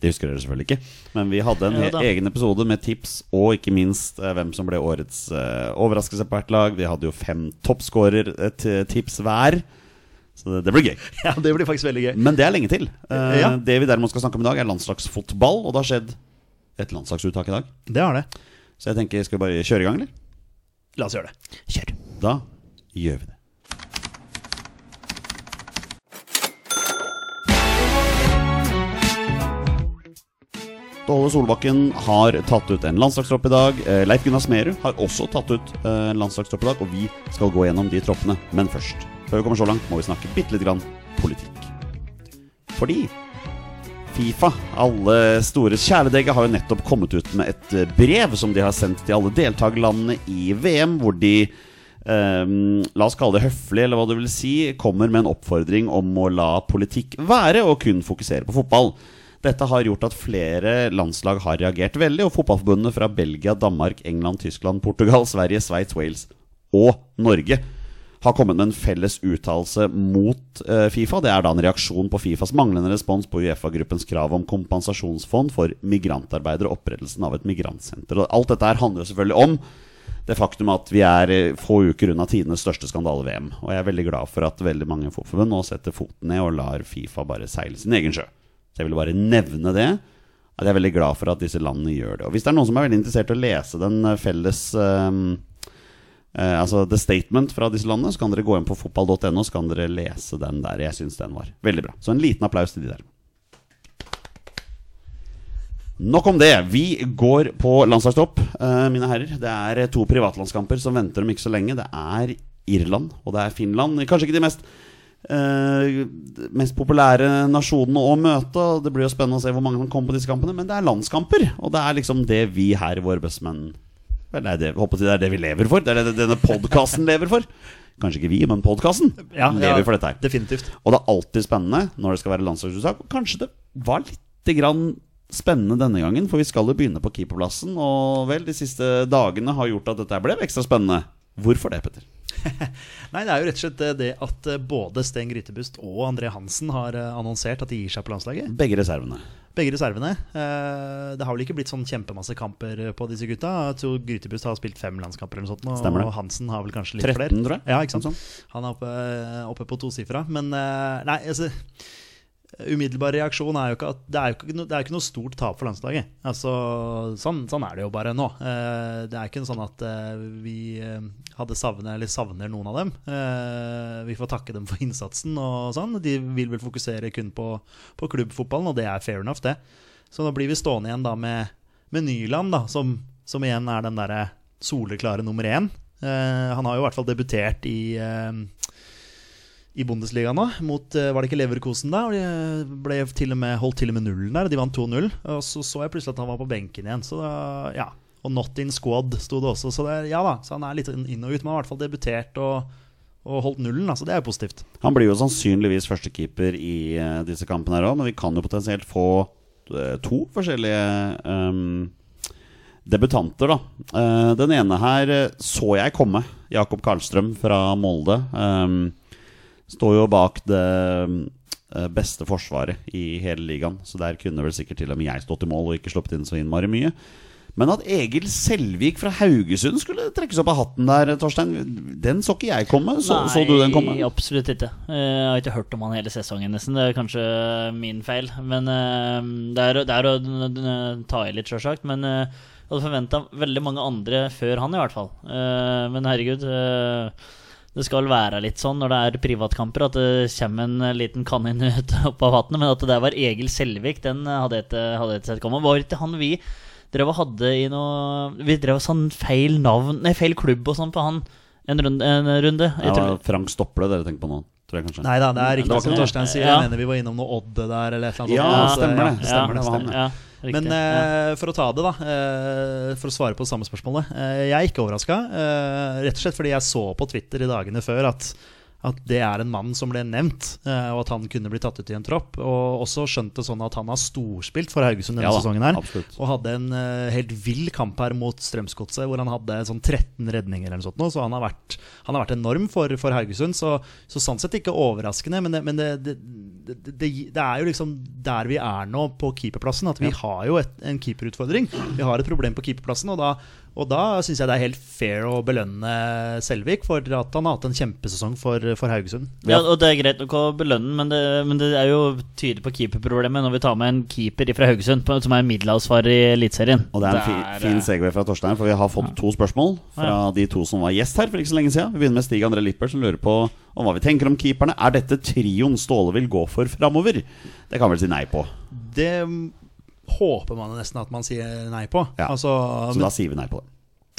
Det husker dere selvfølgelig ikke. Men vi hadde en Jo he- da. egen episode med tips og ikke minst eh, hvem som ble årets eh, overraskelse på hvert lag. Vi hadde jo fem toppskårertips hver. Så det, det blir gøy. Ja, det blir faktisk veldig gøy. Men det er lenge til. Eh, Ja. Det vi derimot skal snakke om i dag, er landslagsfotball. Og det har skjedd et landslagsuttak i dag. Det har det. Så jeg tenker, skal vi bare kjøre i gang, eller? La oss gjøre det. Kjør. Da gjør vi det. Ståle Solbakken har tatt ut en landslagstropp i dag. Eh, Leif Gunnar Smerud har også tatt ut eh, en landslagstropp i dag. Og vi skal gå gjennom de troppene. Men først, før vi kommer så langt, må vi snakke bitte lite grann politikk. Fordi Fifa, alle stores kjæledegge, har jo nettopp kommet ut med et eh, brev som de har sendt til alle deltakerlandene i VM, hvor de ehm, La oss kalle det høflig, eller hva du vil si, kommer med en oppfordring om å la politikk være og kun fokusere på fotball. Dette har gjort at flere landslag har reagert veldig, og fotballforbundene fra Belgia, Danmark, England, Tyskland, Portugal, Sverige, Sveits, Wales og Norge har kommet med en felles uttalelse mot eh, Fifa. Det er da en reaksjon på Fifas manglende respons på Uefa-gruppens krav om kompensasjonsfond for migrantarbeidere og opprettelsen av et migrantsenter. Og alt dette her handler jo selvfølgelig om det faktum at vi er eh, få uker unna tidenes største skandale-VM. Og jeg er veldig glad for at veldig mange fotballforbund nå setter foten ned og lar Fifa bare seile sin egen sjø. Så jeg ville bare nevne det. At jeg er veldig glad for at disse landene gjør det. Og hvis det er noen som er veldig interessert i å lese den eh, felles eh, Eh, altså The Statement fra disse landene, så kan dere gå inn på fotball.no, så kan dere lese den der. Jeg syns den var veldig bra. Så en liten applaus til de der. Nok om det. Vi går på landslagstopp, eh, mine herrer. Det er to privatlandskamper som venter om ikke så lenge. Det er Irland, og det er Finland. Kanskje ikke de mest eh, mest populære nasjonene å møte. og Det blir jo spennende å se hvor mange som kommer på disse kampene. Men det er landskamper, og det er liksom det vi her, våre bestemenn Vel, det er det, håper jeg det er det vi lever for. Det er det denne podkasten lever for. Kanskje ikke vi, men podkasten Ja, lever ja, for dette her. Definitivt. Og det er alltid spennende når det skal være landslagsuttak. Og kanskje det var litt grann spennende denne gangen, for vi skal jo begynne på keeperplassen. Og vel, de siste dagene har gjort at dette ble ekstra spennende. Hvorfor det, Petter? Nei, det er jo rett og slett eh, det at eh, både Sten Grytebust og André Hansen har eh, annonsert at de gir seg på landslaget. Begge reservene. Begge reservene. Eh, Det har vel ikke blitt sånn kjempemasse kamper eh, på disse gutta. Jeg tror Grytebust har spilt fem landskamper eller noe sånt, nå, Stemmer det. sånn. og Hansen har vel kanskje litt 13, flere. tror jeg. Ja, ikke sant? Noe sånt. Han er oppe, eh, oppe på tosifra. Men eh, nei, altså Umiddelbar reaksjon er jo ikke at det er jo ikke, no- det er jo ikke noe stort tap for landslaget. Altså, sånn, sånn er det jo bare nå. Eh, det er ikke sånn at eh, vi eh, hadde savnet eller savner noen av dem. Eh, vi får takke dem for innsatsen og sånn. De vil vel fokusere kun på, på klubbfotballen, og det er fair enough, det. Så da blir vi stående igjen da med, med Nyland, da, som, som igjen er den derre soleklare nummer én. Eh, han har jo i hvert fall debutert i eh, i Bundesliga nå, mot eh, var det ikke Leverkosen da? Og De eh, ble til og med, holdt til og med nullen der, de vant 2-0. Og så så jeg plutselig at han var på benken igjen, så da, ja. Og not in squad sto det også, så det, er- ja da. Så han er litt inn og ut, men han har i hvert fall debutert og, og holdt nullen, altså det er jo positivt. Han blir jo sannsynligvis førstekeeper i eh, disse kampene her òg, men vi kan jo potensielt få eh, to forskjellige ehm, debutanter, da. Eh, den ene her eh, så jeg komme. Jakob Karlstrøm fra Molde. ehm, står jo bak det eh, beste forsvaret i hele ligaen, så der kunne vel sikkert til og med jeg stått i mål og ikke sluppet inn så innmari mye. Men at Egil Selvik fra Haugesund skulle trekkes opp av hatten der, Torstein, den så ikke jeg komme. Så, så du den komme? Nei, absolutt ikke. Eh, Jeg har ikke hørt om han hele sesongen, nesten. Det er kanskje min feil. Men eh, det er, det er å n- n- ta i litt, sjølsagt. Men eh, jeg hadde forventa veldig mange andre før han, i hvert fall. Eh, Men herregud. eh, Det skal være litt sånn når det er privatkamper, at det kommer en liten kanin ut opp av hatten. Men at det der var Egil Selvik, den hadde jeg ikke, hadde jeg ikke sett komme. Var ikke han vi drev og hadde i noe Vi drev og sånn feil navn Nei, feil klubb og sånn på han en runde. En runde. Jeg Ja, tror- Frank Stople dere tenker på nå, tror jeg kanskje. Nei da, det er Det var riktig som ikke det. Torstein sier. Ja. Jeg mener vi var innom noe Odd der eller et eller annet. Ja, sånt. stemmer det. Ja, Ja, stemmer det, det var han, stemmer det. Ja, riktig. Men ja. eh, for å ta det, da. eh, for å svare på det samme spørsmålet. Eh, jeg er ikke overraska. Eh, rett og slett fordi jeg så på Twitter i dagene før at, at det er en mann som ble nevnt, eh, og at han kunne bli tatt ut i en tropp. Og også skjønt det sånn at han har storspilt for Haugesund denne Ja da, sesongen her. absolutt. Og hadde en eh, helt vill kamp her mot Strømsgodset, hvor han hadde sånn 13 redninger eller noe sånt. nå, Så han har vært, han har vært enorm for, for Haugesund. Så, så sånn sett ikke overraskende, men, det, men det, det, det, det, det er jo liksom der vi er nå på keeperplassen, at vi har jo et, en keeperutfordring. Vi har et problem på keeperplassen, og da, og da syns jeg det er helt fair å belønne Selvik for at han har hatt en kjempesesong for, for Haugesund. ja, og det er greit nok å belønne den, men det, men det er jo tydelig på keeperproblemet når vi tar med en keeper fra Haugesund, på, som er middelhavsfarer i Eliteserien. Og det er en fi, fin Segway fra Torstein, for vi har fått to spørsmål fra de to som var gjest her for ikke så lenge siden. Vi begynner med Stig André Lippert, som lurer på om hva vi tenker om keeperne. Er dette trioen Ståle vil gå for framover? Det kan vel si nei på. Det håper man jo nesten at man sier nei på. Ja. Altså, Så men- da sier vi nei på det.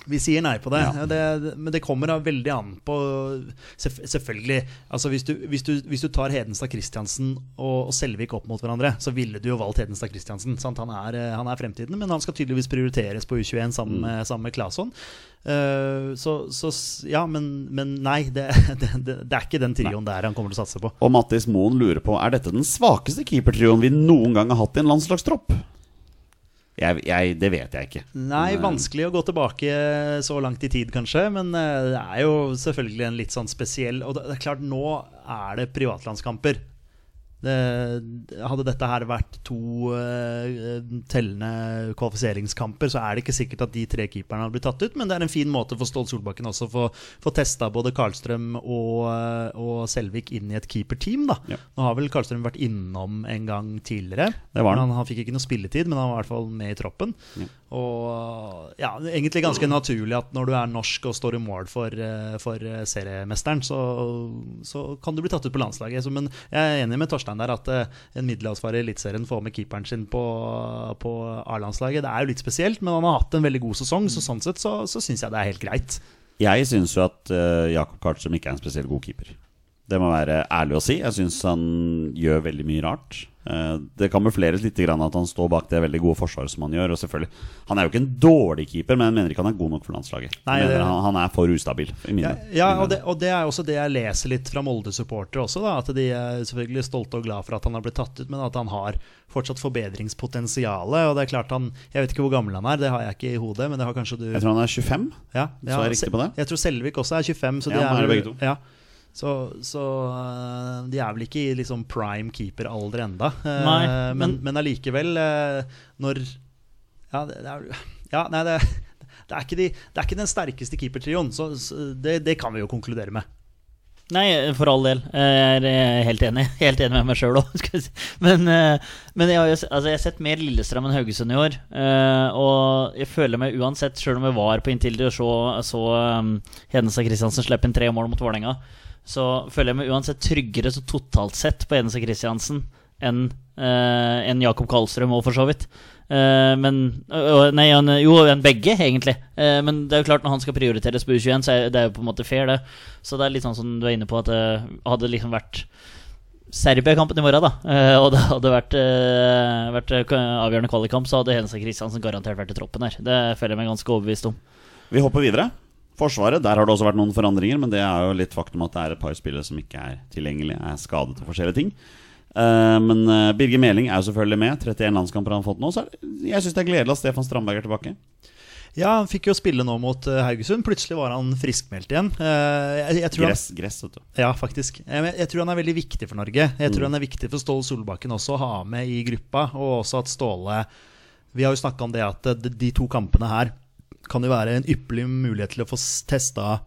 Vi sier nei på det, Ja. det men det kommer da veldig an på selvf- Selvfølgelig. Altså hvis, du, hvis, du, hvis du tar Hedenstad Christiansen og, og Selvik opp mot hverandre, så ville du jo valgt Hedenstad Christiansen. Sant? Han, er, eh, han er fremtiden, men han skal tydeligvis prioriteres på U21 sammen med, sammen med Claesson. Eh, så, så s- ja, men, men nei. Det, det, det, det er ikke den trioen der han kommer til å satse på. Og Mattis Moen lurer på er dette den svakeste keepertrioen vi noen gang har hatt i en landslagstropp. Jeg, jeg, det vet jeg ikke. Nei, vanskelig å gå tilbake eh, så langt i tid, kanskje. Men eh, det er jo selvfølgelig en litt sånn spesiell Og det det er klart, nå er det privatlandskamper. Det, hadde dette her vært to eh, tellende kvalifiseringskamper, så er det ikke sikkert at de tre keeperne hadde blitt tatt ut, men det er en fin måte for Ståle Solbakken også å få- få testa både Karlstrøm og, eh, og Selvik inn i et keeperteam. da Ja. Nå har vel Karlstrøm vært innom en gang tidligere. Det var han. Men han, han fikk ikke noe spilletid, men han var i hvert fall med i troppen. Og eh, ja, det er egentlig ganske naturlig at når du er norsk og står i mål for, eh, for eh, seriemesteren, så, så kan du bli tatt ut på landslaget. Så, men jeg er enig med Torstein der at eh, en middelhavsfarer i Eliteserien får med keeperen sin på, på A-landslaget. Det er jo litt spesielt, men han har hatt en veldig god sesong, så sånn sett så, så syns jeg det er helt greit. Jeg syns jo at eh, Jakob Karlstrøm ikke er en spesielt god keeper. Det må være ærlig å si. Jeg syns han gjør veldig mye rart. Eh, det kamufleres litt grann at han står bak det veldig gode forsvaret som han gjør. Og selvfølgelig, Han er jo ikke en dårlig keeper, men jeg mener ikke han er god nok for landslaget. Jeg Nei, det- mener han, han er for ustabil. I mine, Ja, ja mine og, det, og det er jo også det jeg leser litt fra Molde-supportere også. Da, at de er selvfølgelig stolte og glad for at han har blitt tatt ut, men at han har fortsatt forbedringspotensialet. Og det er klart han, Jeg vet ikke hvor gammel han er, det har jeg ikke i hodet, men det har kanskje du Jeg tror han er 25. ja, så er jeg riktig på det. Jeg tror Selvik også er 25, så Ja, de nå er er, det vel- begge to. Ja. Så, så øh, de er vel ikke i liksom prime keeper-alder enda Eh, Nei, men, men- men allikevel, eh, når Ja, det, det er Ja, nei, det det er, ikke de, det er ikke den sterkeste keepertrioen, så, så det, det kan vi jo konkludere med. Nei, for all del. Jeg er eh, helt enig. Helt enig med meg sjøl òg. Si. Men, eh, men jeg, har jo, se- altså, jeg har sett mer Lillestrøm enn Haugesund i år. eh, Og jeg føler meg uansett, sjøl om jeg var på inntil og så, så um, Hedenstad Christiansen slippe inn tre mål mot Vålerenga, så føler jeg meg uansett tryggere så totalt sett på Hedenstad Christiansen enn eh, enn Jakob Karlstrøm òg, for så vidt. Eh, men øh, øh, Nei, han, jo, enn begge, egentlig. Eh, men det er jo klart når han skal prioriteres på U21, så er det er jo på en måte fair, det. Så det er litt sånn som du er inne på, at det hadde liksom vært Serbia-kampen i morgen, da, eh, og det hadde vært, eh, vært eh, avgjørende kvalikkamp, så hadde Hensa Kristiansen garantert vært i troppen her. Det føler jeg meg ganske overbevist om. Vi hopper videre. Forsvaret, der har det også vært noen forandringer, men det er jo litt faktum at det er et par spillere som ikke er tilgjengelige, er skadet og forskjellige ting. Eh, men eh, Birger Meling er jo selvfølgelig med. 31 landskamper har han fått nå. Så er det, jeg syns det er gledelig at Stefan Strandberg er tilbake. Ja, han fikk jo spille nå mot eh, Haugesund. Plutselig var han friskmeldt igjen. Eh, Jeg, jeg tror han, Gress, gress, vet du. ja, faktisk. Eh, men Jeg tror han er veldig viktig for Norge. Jeg tror han er viktig for Ståle Solbakken også å ha med i gruppa, og også at Ståle Vi har jo snakka om det at eh, de de to kampene her kan jo være en ypperlig mulighet til å få testa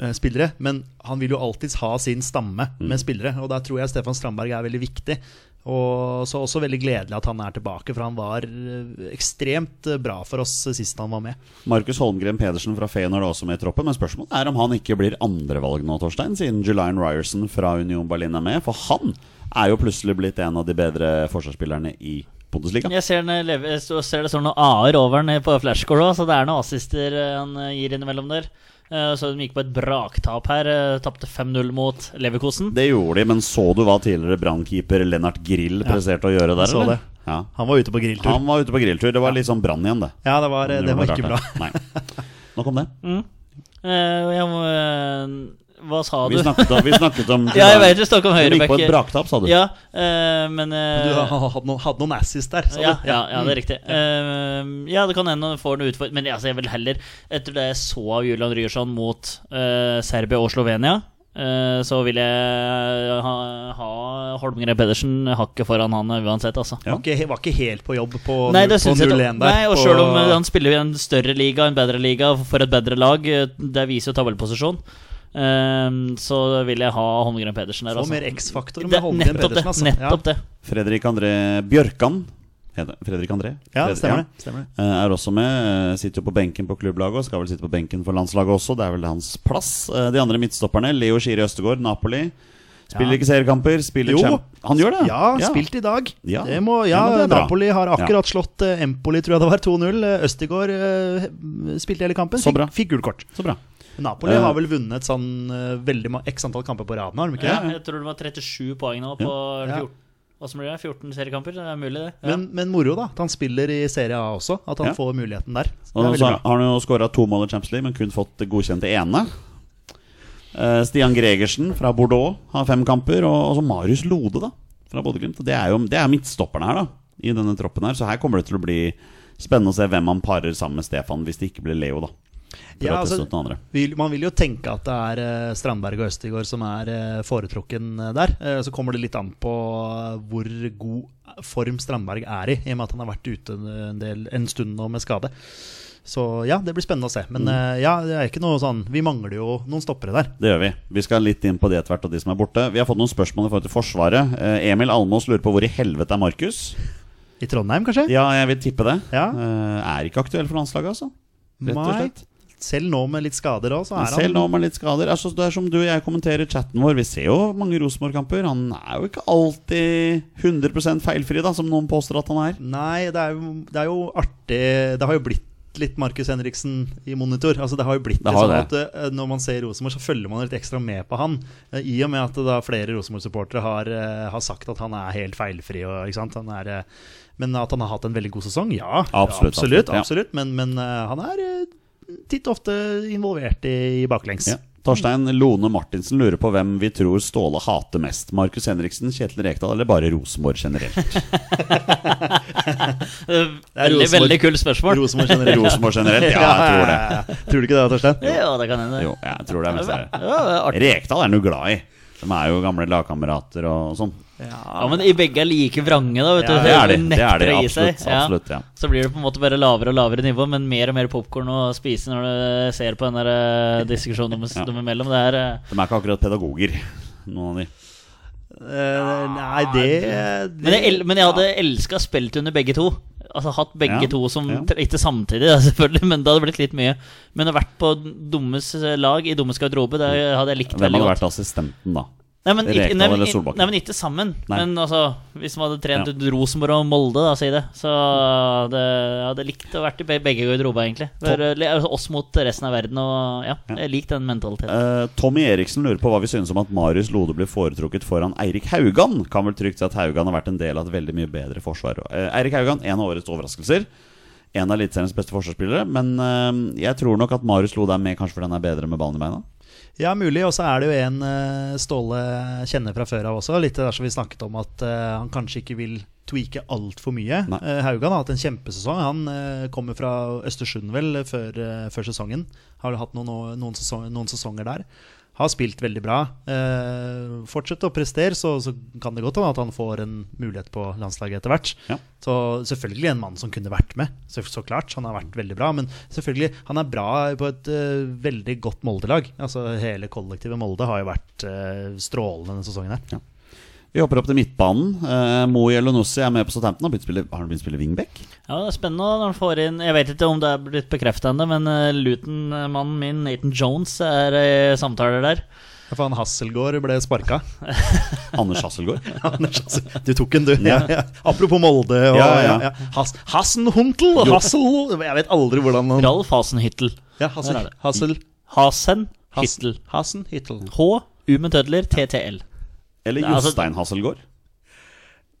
eh, spillere, men han vil jo alltids ha sin stamme med spillere, og der tror jeg Stefan Strandberg er veldig viktig. Og så også veldig gledelig at han er tilbake, for han var eh, ekstremt eh, bra for oss eh, sist han var med. Markus Holmgren Pedersen fra Feyenoord er også med i troppen, men spørsmålet er om han ikke blir andrevalg nå, Torstein, siden Julian Ryerson fra Union Berlin er med. For han er jo plutselig blitt en av de bedre forsvarsspillerne i Bundesliga. Jeg ser, den leve, jeg så- ser det står noen A-er over den eh, på flashscore òg, så det er noen assister eh, han eh, gir innimellom der. Eh, Så de gikk på et braktap her. eh, Tapte 5-0 mot Leverkosen. Det gjorde de, men så du hva tidligere brannkeeper Lennart Grill presterte å gjøre der? jeg så eller? det. Ja. Han var ute på grilltur. Han var ute på grilltur. Det var litt sånn brann igjen, det. Ja, det var, eh, det var ikke bra. Nei. Nok om det. Eh, og jeg må, eh, Hva sa du? Vi snakket om, vi snakket om Ja, jeg vet du snakket om Hun gikk på et høyreback. braktap, sa du. Ja, eh, men eh, Du hadde noen, hadde noen assis der, sa ja, du. Mm. ja, ja, det er riktig. Eh, ja, det kan hende han får noe utfordring, men altså, jeg vil heller Etter det jeg så av Julian Ryerson mot eh, Serbia og Slovenia, eh, så vil jeg eh, ha, ha Holmgren Pedersen hakket foran han uansett, altså. Ja. Var, ikke, var ikke helt på jobb på, Nei, det på synes 0-1 jeg ikke. der. Nei, og på- selv om eh, han spiller i en større liga, en bedre liga, for et bedre lag, eh, det viser jo tabellposisjon, eh, så vil jeg ha Holmgren Pedersen der, Få altså. mer X-faktor med Det, Holmgren nettopp det. Pedersen, altså. Nettopp det. Fredrik André Bjørkan. heter det. Fredrik André? Ja, Fredrik- ja stemmer, det, stemmer det. Eh, Er også med. eh, Sitter jo på benken på klubblaget og skal vel sitte på benken for landslaget også. Det er vel hans plass. Eh, De andre midtstopperne, Leo Skiri Østegård, Napoli. Spiller ikke seriekamper. Spiller Jo. champ... Han gjør det? Ja, spilt i dag. Ja. Det må, ja, Ja, men det er bra. Napoli har akkurat slått eh, Empoli, tror jeg det var 2-0. Eh, Østigård eh, spilte hele kampen, Så bra. fikk, fikk gult kort. Så bra. Napoli Eh. har vel vunnet sånn eh, veldig ma- x antall kamper på raden, har de ikke? Ja, det? jeg tror det var 37 poeng nå på Ja. 14 Hva som blir det? 14 seriekamper? Det er mulig, det. Ja. Men, men moro, da. At han spiller i Serie A også. At han Ja. får muligheten der. Det Og er så veldig har bra. han jo skåra to mål i Champions League, men kun fått det godkjent det ene. Eh, Stian Gregersen fra Bordeaux har fem kamper. Og også Marius Lode da fra Bodø-Glimt. Og Det er jo det er midtstopperne her, da i denne troppen her. Så her kommer det til å bli spennende å se hvem han parer sammen med Stefan, hvis det ikke blir Leo, da. For Ja, å teste altså, ut den andre. vil, man vil jo tenke at det er eh, Strandberg og Østigård som er eh, foretrukken eh, der. Eh, så kommer det litt an på eh, hvor god form Strandberg er i, i og med at han har vært ute en, del, en stund nå med skade. Så ja, det blir spennende å se. Men Mm. eh, ja, det er ikke noe sånn Vi mangler jo noen stoppere der. Det gjør vi. Vi skal litt inn på det etter hvert, og de som er borte. Vi har fått noen spørsmål i forhold til Forsvaret. Eh, Emil Almås lurer på hvor i helvete er Markus? I Trondheim, kanskje? Ja, jeg vil tippe det. Ja. Eh, er ikke aktuell for landslaget, altså. Rett og Nei. slett. Selv nå med litt skader òg, så er Selv nå han med litt skader. Altså, det er som du og jeg kommenterer chatten vår. Vi ser jo mange Rosenborg-kamper. Han er jo ikke alltid 100 feilfri, da, som noen påstår at han er. Nei, det er, jo, det er jo artig Det har jo blitt litt Markus Henriksen i monitor. Altså det har jo blitt Det har litt det. sånn at eh, Når man ser Rosenborg, så følger man litt ekstra med på han. Eh, I og med at da flere Rosenborg-supportere har, eh, har sagt at han er helt feilfri. Og, ikke sant? Han er, eh, men at han har hatt en veldig god sesong, ja. Absolutt, absolutt, absolutt, ja. absolutt. Men, men eh, han er eh, titt og ofte involvert i, i baklengs. Ja. Torstein Lone Martinsen lurer på hvem vi tror Ståle hater mest. Markus Henriksen, Kjetil Rekdal eller bare Rosenborg generelt? Det er Veldig, Rosenborg. veldig kult spørsmål. Rosenborg generelt. Rosenborg generelt, ja, jeg tror det. Ja, ja, ja. Tror du ikke det, Torstein? Ja, det kan hende. Jo, jeg tror det er mest det. Ja, det er artig. Rekdal er han jo glad i. De er jo gamle lagkamerater og sånn. ja, men i begge er like vrange, da. Vet du. Ja, Det er de. Nekter Det er de å gi seg. absolutt. absolutt ja. Ja. Så blir det på en måte bare lavere og lavere nivå, men mer og mer popkorn å spise når du ser på den der eh, diskusjonen dem, Ja. dem imellom. Det er eh, De er ikke akkurat pedagoger, noen av de. Eh, nei, det, men, jeg, el- men jeg hadde elska spilt under begge to. Altså hatt begge Ja, to som ja. tre- Ikke samtidig, da, selvfølgelig, men det hadde blitt litt mye. Men å vært på dummes eh, lag i dummes garderobe, det hadde jeg likt Mm. Hvem veldig hadde godt. vært assistenten, da? Nei, men, ikke, Rekdal nei, men, eller i- Solbakken? nei, men ikke sammen. Nei. Men altså, hvis man hadde trent Ja. ut Rosenborg og Molde, da, si det. Så det, jeg hadde likt å vært i be- begge garderober, egentlig. For, eller, altså, oss mot resten av verden og Ja, jeg liker den mentaliteten. Eh, Tommy Eriksen lurer på hva vi synes om at Marius Lode blir foretrukket foran Eirik Haugan. Kan vel trygt si at Haugan har vært en del av et veldig mye bedre forsvar. Eh, Eirik Haugan, en av årets overraskelser. En av eliteseriens beste forsvarsspillere. Men eh, jeg tror nok at Marius Lode er med kanskje fordi han er bedre med ballen i beina. Ja, mulig. Og så er det jo en eh, Ståle kjenner fra før av også. Litt det der som vi snakket om at eh, han kanskje ikke vil tweake altfor mye. Nei. Eh, Haugan har hatt en kjempesesong. Han eh, kommer fra Østersund vel før, eh, før sesongen. Har hatt noen, noen, sesong, noen sesonger der. Har spilt veldig bra. Eh, Fortsett å prestere, så, så kan det godt hende at han får en mulighet på landslaget etter hvert. Ja. Så selvfølgelig en mann som kunne vært med. Så, så klart, Han har vært veldig bra. Men selvfølgelig, han er bra på et eh, veldig godt Molde-lag. Altså, hele kollektivet Molde har jo vært eh, strålende denne sesongen her. Vi hopper opp til midtbanen. Eh, Mo Jelonossi er med på Southampton. Har, begynt å spille- har han begynt å spille wingback? Ja, det er spennende når han får inn Jeg vet ikke om det er blitt bekrefta ennå, men eh, Luton-mannen min, Nathan Jones, er i samtaler der. Ja, for han Hasselgaard ble sparka. Anders Hasselgaard. Anders, altså, du tok en, du. Ja, ja. Apropos Molde og Ja, ja, ja. Has, Hassenhuntel og Jo. Hassel Jeg vet aldri hvordan han Ralf Hasenhyttel. ja, Hassel, Der er det. Hassel, Hasen Has- Hyttel. Hassenhyttel. H. U med tødler. TTL. Eller Nei, altså- Jostein Hasselgaard.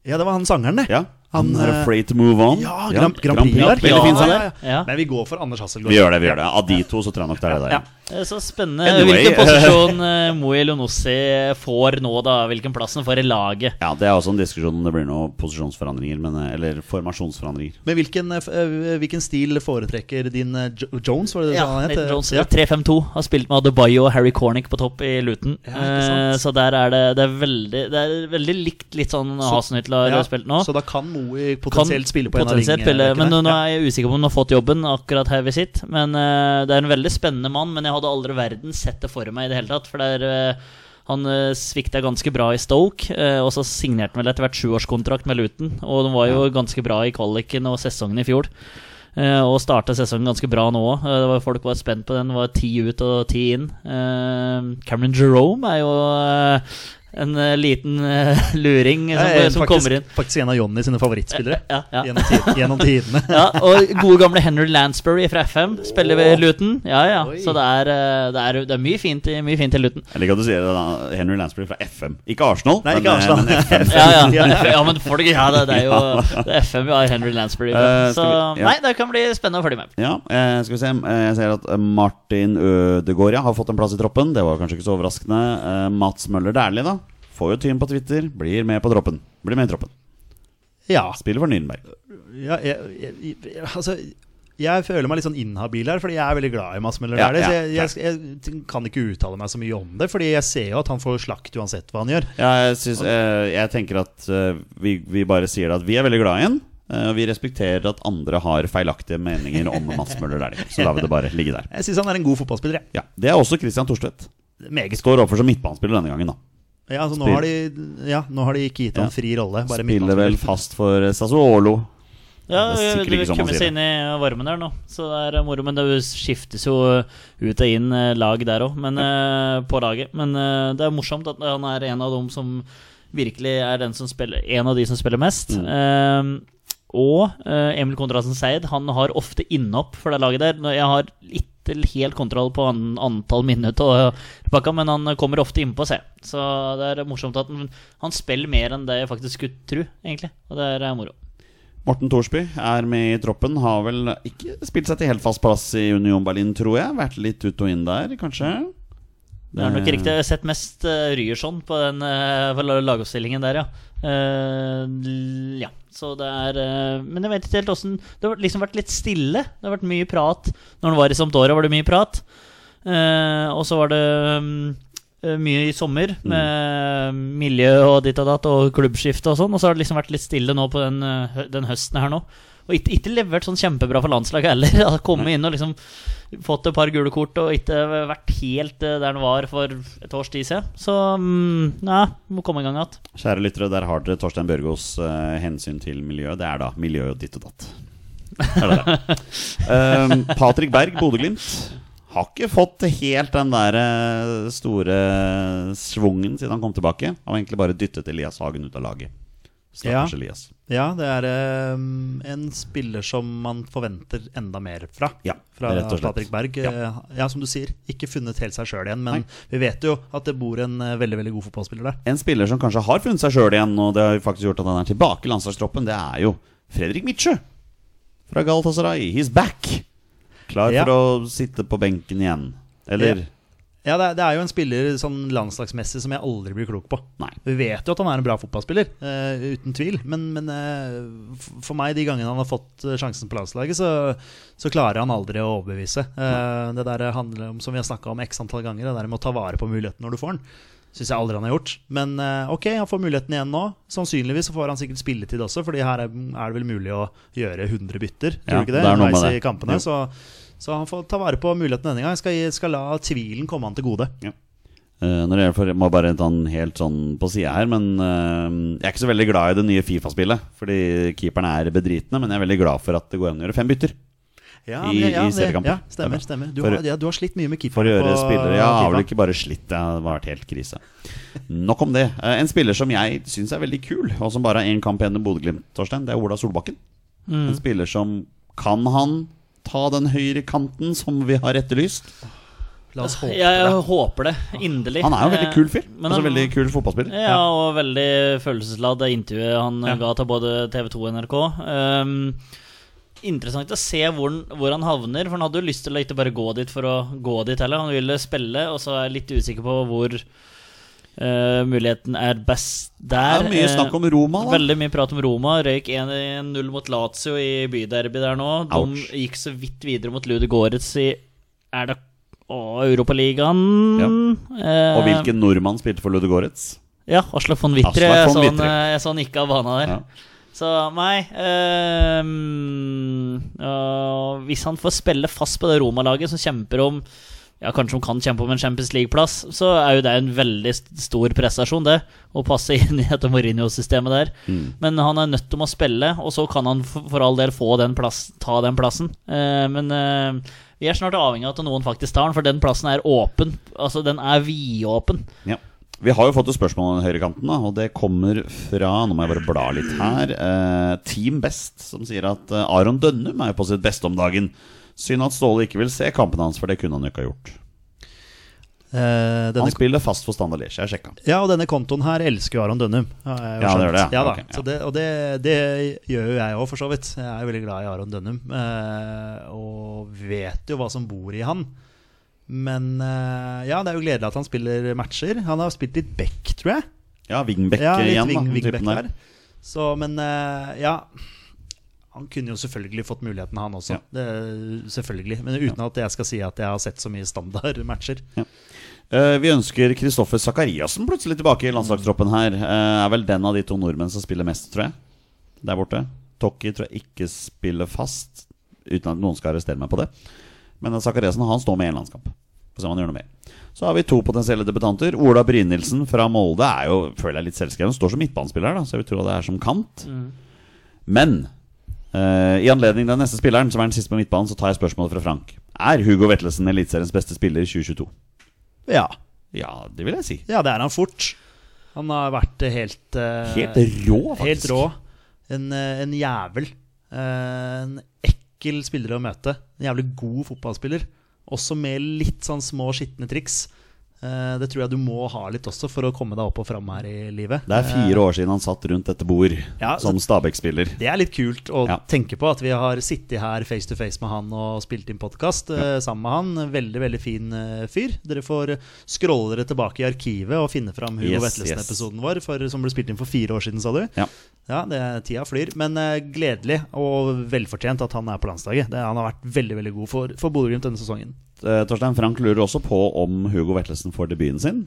Ja, det var han sangeren, det. Ja. Han, Han er eh, afraid to move on. Ja, Grand, Grand Prix der. Prix der. Ja, Veldig fin sang. ja, ja. Ja. Men vi går for Anders Hasselgaard. Vi gjør det, vi gjør det. Av de to så tror jeg nok det er det der. Eh, Så spennende Anyway. hvilken posisjon eh, Moe Lonossi får nå, da. Hvilken plass han får i laget. Ja, Det er også en diskusjon om det blir noen posisjonsforandringer, men, eh, eller formasjonsforandringer. Men hvilken, eh, f- eh, hvilken stil foretrekker din eh, Jo- Jones, var det det Ja, han het? Nathan Jones Ja. 3-5-2 har spilt med Adebayo og Harry Cornick på topp i Luton. ikke sant. Eh, så der er det, det, er veldig, det er veldig likt litt sånn Hasenhyttel har Ja, spilt nå. Så da kan Moe Kan potensielt spille på en potensielt av spille, ringene. Men nå, nå er jeg usikker på om han har fått jobben akkurat her vi sitter. Men eh, det er en veldig spennende mann, men jeg hadde aldri verden sett det for meg i det hele tatt. For det er, eh, han uh, svikta ganske bra i Stoke, eh, og så signerte han vel etter hvert sjuårskontrakt med Luton. Og den var jo ganske bra i kvaliken og sesongen i fjor. eh, og starta sesongen ganske bra nå òg. folk var spent på den. Det var ti ut og ti inn. Eh, Cameron Jerome er jo eh, en eh, liten eh, luring som, Jeg er som faktisk, kommer inn. faktisk en av Johnny sine favorittspillere Ja, ja. Gjennom, tid, gjennom tidene. Ja, og gode gamle Henry Lansbury fra FM spiller ved Luton. Ja, ja. Oi. Så det er, eh, det er, det er mye, fint i, mye fint i Luton. Jeg liker at du sier det da, Henry Lansbury fra FM. Ikke Arsenal, Nei, ikke men, eh, Arsenal. men FM. Ja, ja. ja men folk, ja, det, det er jo det er FM vi har Henry Lansbury fra. Eh, Så skal vi- ja. nei, det kan bli spennende å følge med. Ja, eh, skal vi se. Eh, Jeg ser at eh, Martin Ødegaard ja, har fått en plass i troppen. Det var kanskje ikke så overraskende. Eh, Mats Møller Dæhlie, da. Får jo tyn på Twitter. Blir med på troppen. Blir med i troppen. Ja, Spiller for Nürnberg. ja jeg, jeg, jeg, altså jeg føler meg litt sånn inhabil her, fordi jeg er veldig glad i Mads Møller. Ja, Dæhlie, ja, så jeg, jeg, jeg kan ikke uttale meg så mye om det, Fordi jeg ser jo at han får slakt uansett hva han gjør. Ja, jeg, syns- eh, jeg tenker at eh, vi, vi bare sier at vi er veldig glad i ham. Og vi respekterer at andre har feilaktige meninger om Mats Møller Dæhlie. Så lar vi det bare ligge der. Jeg syns han er en god fotballspiller, jeg. Ja, Det er også Christian Thorstvedt. Meget. Står overfor som midtbanespiller denne gangen, da. Ja, altså, nå, Spill. har de, ja, nå har de ikke gitt han Ja. fri rolle. Bare Spiller vel midtbanespiller. fast for eh, Sassuolo. Ja, Det er sikkert Du ikke sånn man kommer sier det. seg inn i varmen der nå, så det er eh, moro. Men det skiftes jo ut og inn eh, lag der òg, men eh, på laget. Men eh, det er morsomt at han er en av dem som virkelig er den som spiller, en av de som spiller mest. Mm. Eh, og eh, Emil Konradsen Seid han har ofte innhopp for det laget der. Når Jeg har ikke helt kontroll på an antall minutter, og pakka, men han kommer ofte innpå, se. Så det er morsomt at han, han spiller mer enn det jeg faktisk skulle tro, egentlig. Og det er eh, moro. Morten Thorsby er med i troppen. Har vel ikke spilt seg til helt fast plass i Union Berlin, tror jeg. Vært litt ut og inn der, kanskje. Det er nok riktig. Jeg har sett mest uh, Ryerson på den eh, på la- lagoppstillingen der, ja. Eh, l- ja. Så det er eh, Men jeg vet ikke helt åssen Det har liksom vært litt stille. Det har vært mye prat. Når han var i Sampdoria, var det mye prat. Eh, og så var det mm, eh, mye i sommer, Mm. med mm, miljø og ditt og datt, og klubbskifte og sånn. Og så har det liksom vært litt stille nå på den, eh, hø- den høsten her nå. Og ikke, ikke levert sånn kjempebra for landslaget heller. Å komme inn og liksom fått et par gule kort og ikke vært helt eh, der den var for et års tid siden. Så mm, nei, må komme i gang igjen. Kjære lyttere, der har dere Torstein Børgos eh, hensyn til miljøet. Det er da miljø og ditt og datt. Er det det? um, Patrick Berg, Bodø-Glimt. Har ikke fått helt den der eh, store svungen siden han kom tilbake. Han har egentlig bare dyttet Elias Hagen ut av laget. Stakkars Ja. Elias. Ja, det er ehm, en spiller som man forventer enda mer fra. Ja, Fra rett og slett. Patrick Berg. Ja. ja, som du sier, ikke funnet helt seg sjøl igjen. Men vi vet jo at det bor en eh, veldig veldig god fotballspiller der. En spiller som kanskje har funnet seg sjøl igjen, og det har jo faktisk gjort at han er tilbake i landslagstroppen, det er jo Fredrik Mitsjø fra Galatasaray. He's back! Klar Ja. for å sitte på benken igjen. Eller Ja, det er, det er jo en spiller sånn landslagsmessig som jeg aldri blir klok på. Nei. Vi vet jo at han er en bra fotballspiller, eh, uten tvil. Men, men eh, f- for meg, de gangene han har fått eh, sjansen på landslaget, så, så klarer han aldri å overbevise. Eh, det der handler om, som vi har snakka om x antall ganger, det der med å ta vare på muligheten når du får den. Syns jeg aldri han har gjort. Men eh, ok, han får muligheten igjen nå. Sannsynligvis så får han sikkert spilletid også, Fordi her er, er det vel mulig å gjøre 100 bytter. Tror Ja, du ikke det? det er noe med Underveis det. i kampene. Jo. Så, så han får ta vare på muligheten denne gang. Skal, gi- skal la tvilen komme han til gode. Eh, når det gjelder, for jeg må bare ta den helt sånn på sida her, men eh, jeg er ikke så veldig glad i det nye Fifa-spillet. Fordi keeperne er bedritne, men jeg er veldig glad for at det går an å gjøre fem bytter. Ja, I- men- ja, i det- seriekamper. Ja, Det er bra. stemmer. stemmer du, For- har, ja, du har slitt mye med keeper. For å gjøre på- spillere Jeg har vel FIFA. ikke bare slitt, det har vært helt krise. Nok om det. Eh, En spiller som jeg syns er veldig kul, og som bare har én kamp igjen med Bodø-Glimt, Torstein, det er Ola Solbakken. Mm. En spiller som kan han ta den høyre kanten som vi har etterlyst? La oss håpe Jeg, jeg det. håper det, inderlig. Han er jo en veldig Eh, kul fyr. men Altså han- veldig kul fotballspiller. Ja, og veldig følelsesladd det intervjuet han Ja. ga til både TV 2 og NRK. Ehm, interessant å se hvor, han- hvor han havner, for han hadde jo lyst til å ikke bare gå dit for å gå dit heller. Han ville spille, og så er jeg litt usikker på hvor eh, muligheten er best der. Det er mye Eh, snakk om Roma, da. Veldig mye prat om Roma. Røyk 1-0 mot Lazio i byderby der nå. De Ouch. gikk så vidt videre mot Lude Goretz i Er det å, Europaligaen? Eh, Ja. Og hvilken nordmann spilte for Ludogorets? Ja, Aslak von Witter. Aslak Jeg, von så han- Wittre. eh, jeg så han ikke av bana der. Ja. Så nei ehm, øh, Hvis han får spille fast på det Roma-laget som kjemper om ja, Kanskje han kan kjempe om en Champions League-plass, så er jo det en veldig st- stor prestasjon, det. Å passe inn i dette Mourinho-systemet der. Mm. Men han er nødt til å spille, og så kan han f- for all del få den plass, ta den plassen. Eh, men eh, vi er snart avhengig av at noen faktisk tar den, for den plassen er åpen. Altså, den er vidåpen. Ja. Vi har jo fått et spørsmål om høyrekanten, da, og det kommer fra Nå må jeg bare bla litt her. Eh, Team Best, som sier at eh, Aron Dønnum er jo på sitt beste om dagen. Synd at Ståle ikke vil se kampen hans, for det kunne han jo ikke ha gjort. Eh, Han denne, spiller fast for Standard Liège, jeg sjekka. ja, og denne kontoen her elsker jo Aron Dønnum. har jeg Ja, jo det skjønt. gjør det, ja. Ja, da. Ok, ja. Så det, og det, det gjør jo jeg òg, for så vidt. Jeg er jo veldig glad i Aron Dønnum. eh, og vet jo hva som bor i han. Men eh, ja, det er jo gledelig at han spiller matcher. Han har spilt litt back, tror jeg. Ja, Wingbeck Ja, litt igjen, da. wing, den wingback typen der. Så, men eh, ja Han kunne jo selvfølgelig fått muligheten, han også. Ja. Det, selvfølgelig. Men uten at jeg skal si at jeg har sett så mye standardmatcher. Eh, Vi ønsker Kristoffer Sakariassen plutselig tilbake i landslagstroppen her. Eh, Er vel den av de to nordmenn som spiller mest, tror jeg. Der borte. Tokki tror jeg ikke spiller fast, uten at noen skal arrestere meg på det. Men Sakariassen han står med i én landskamp. Får se om han gjør noe mer. Så har vi to potensielle debutanter. Ola Brynildsen fra Molde er jo, føler jeg, litt selvskreven. Står som midtbanespiller, da, så jeg vil tro det er som kant. Men eh, i anledning den neste spilleren, som er den siste på midtbanen, så tar jeg spørsmålet fra Frank. Er Hugo Vetlesen Eliteseriens beste spiller i 2022? Ja. Ja, det vil jeg si. ja, det er han fort. Han har vært eh, helt eh, Helt rå, faktisk. helt rå. En, eh, en jævel. Eh, En ekkel spiller å møte. En jævlig god fotballspiller. Også med litt sånn små skitne triks. Eh, Det tror jeg du må ha litt også for å komme deg opp og fram her i livet. Det er fire år siden han satt rundt dette bord Ja, som Stabæk-spiller. Det er litt kult å Ja. tenke på at vi har sittet her face to face med han og spilt inn podkast sammen med han. Veldig veldig fin eh, fyr. Dere får scrolle dere tilbake i arkivet og finne fram Hugo Yes, Vetlesen-episoden vår, for, som ble spilt inn for fire år siden, sa du. Ja. Ja, det, tida flyr. Men eh, gledelig og velfortjent at han er på landslaget. Det, han har vært veldig veldig god for, for Bodø-Glimt denne sesongen. Eh, Torstein Frank lurer også på om Hugo Vetlesen får debuten sin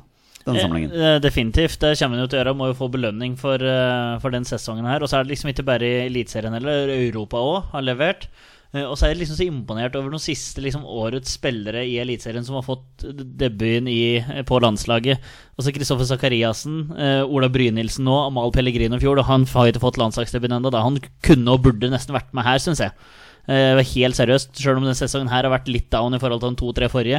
denne samlingen. Eh, eh, Definitivt. Det kommer han jo til å gjøre. Han Må jo få belønning for, eh, for den sesongen her. Og så er det liksom ikke bare i Eliteserien heller. Europa òg har levert. Eh, Og så er jeg liksom så imponert over de siste liksom, årets spillere i Eliteserien som har fått d- debuten i, eh, på landslaget. Altså Kristoffer Sakariassen, eh, Ola Brynildsen nå, Amal Pellegrino i fjor. Og han har jo ikke fått landslagsdebut ennå. da. Han kunne og burde nesten vært med her, syns jeg. Eh, helt seriøst, sjøl om denne sesongen her har vært litt down i forhold til de to-tre forrige.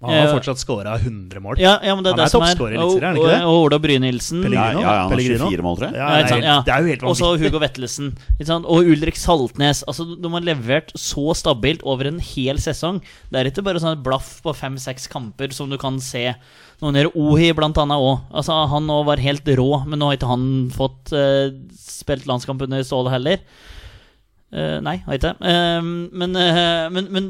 Han har Eh, fortsatt scora 100 mål. Ja, ja, men det er Han er det som er toppscorer i Eliteserien, er han ikke det? Og, og Ola Brynildsen. Ja, ja, ja, han har Pellegrino. 24 mål, tror jeg. Ja, Ja, ikke det, er sant, helt, ja. det er jo helt Og så vanvittig. Hugo Vettelsen. Ikke sant? Og Ulrik Saltnes. Altså, de har levert så stabilt over en hel sesong. Det er ikke bare sånn et blaff på fem-seks kamper som du kan se. Noen gjør Ohi blant annet òg. Altså, han nå var helt rå, men nå har ikke han fått eh, spilt landskamp under Ståle heller. Eh, nei, har ikke det. Eh, men eh, men, men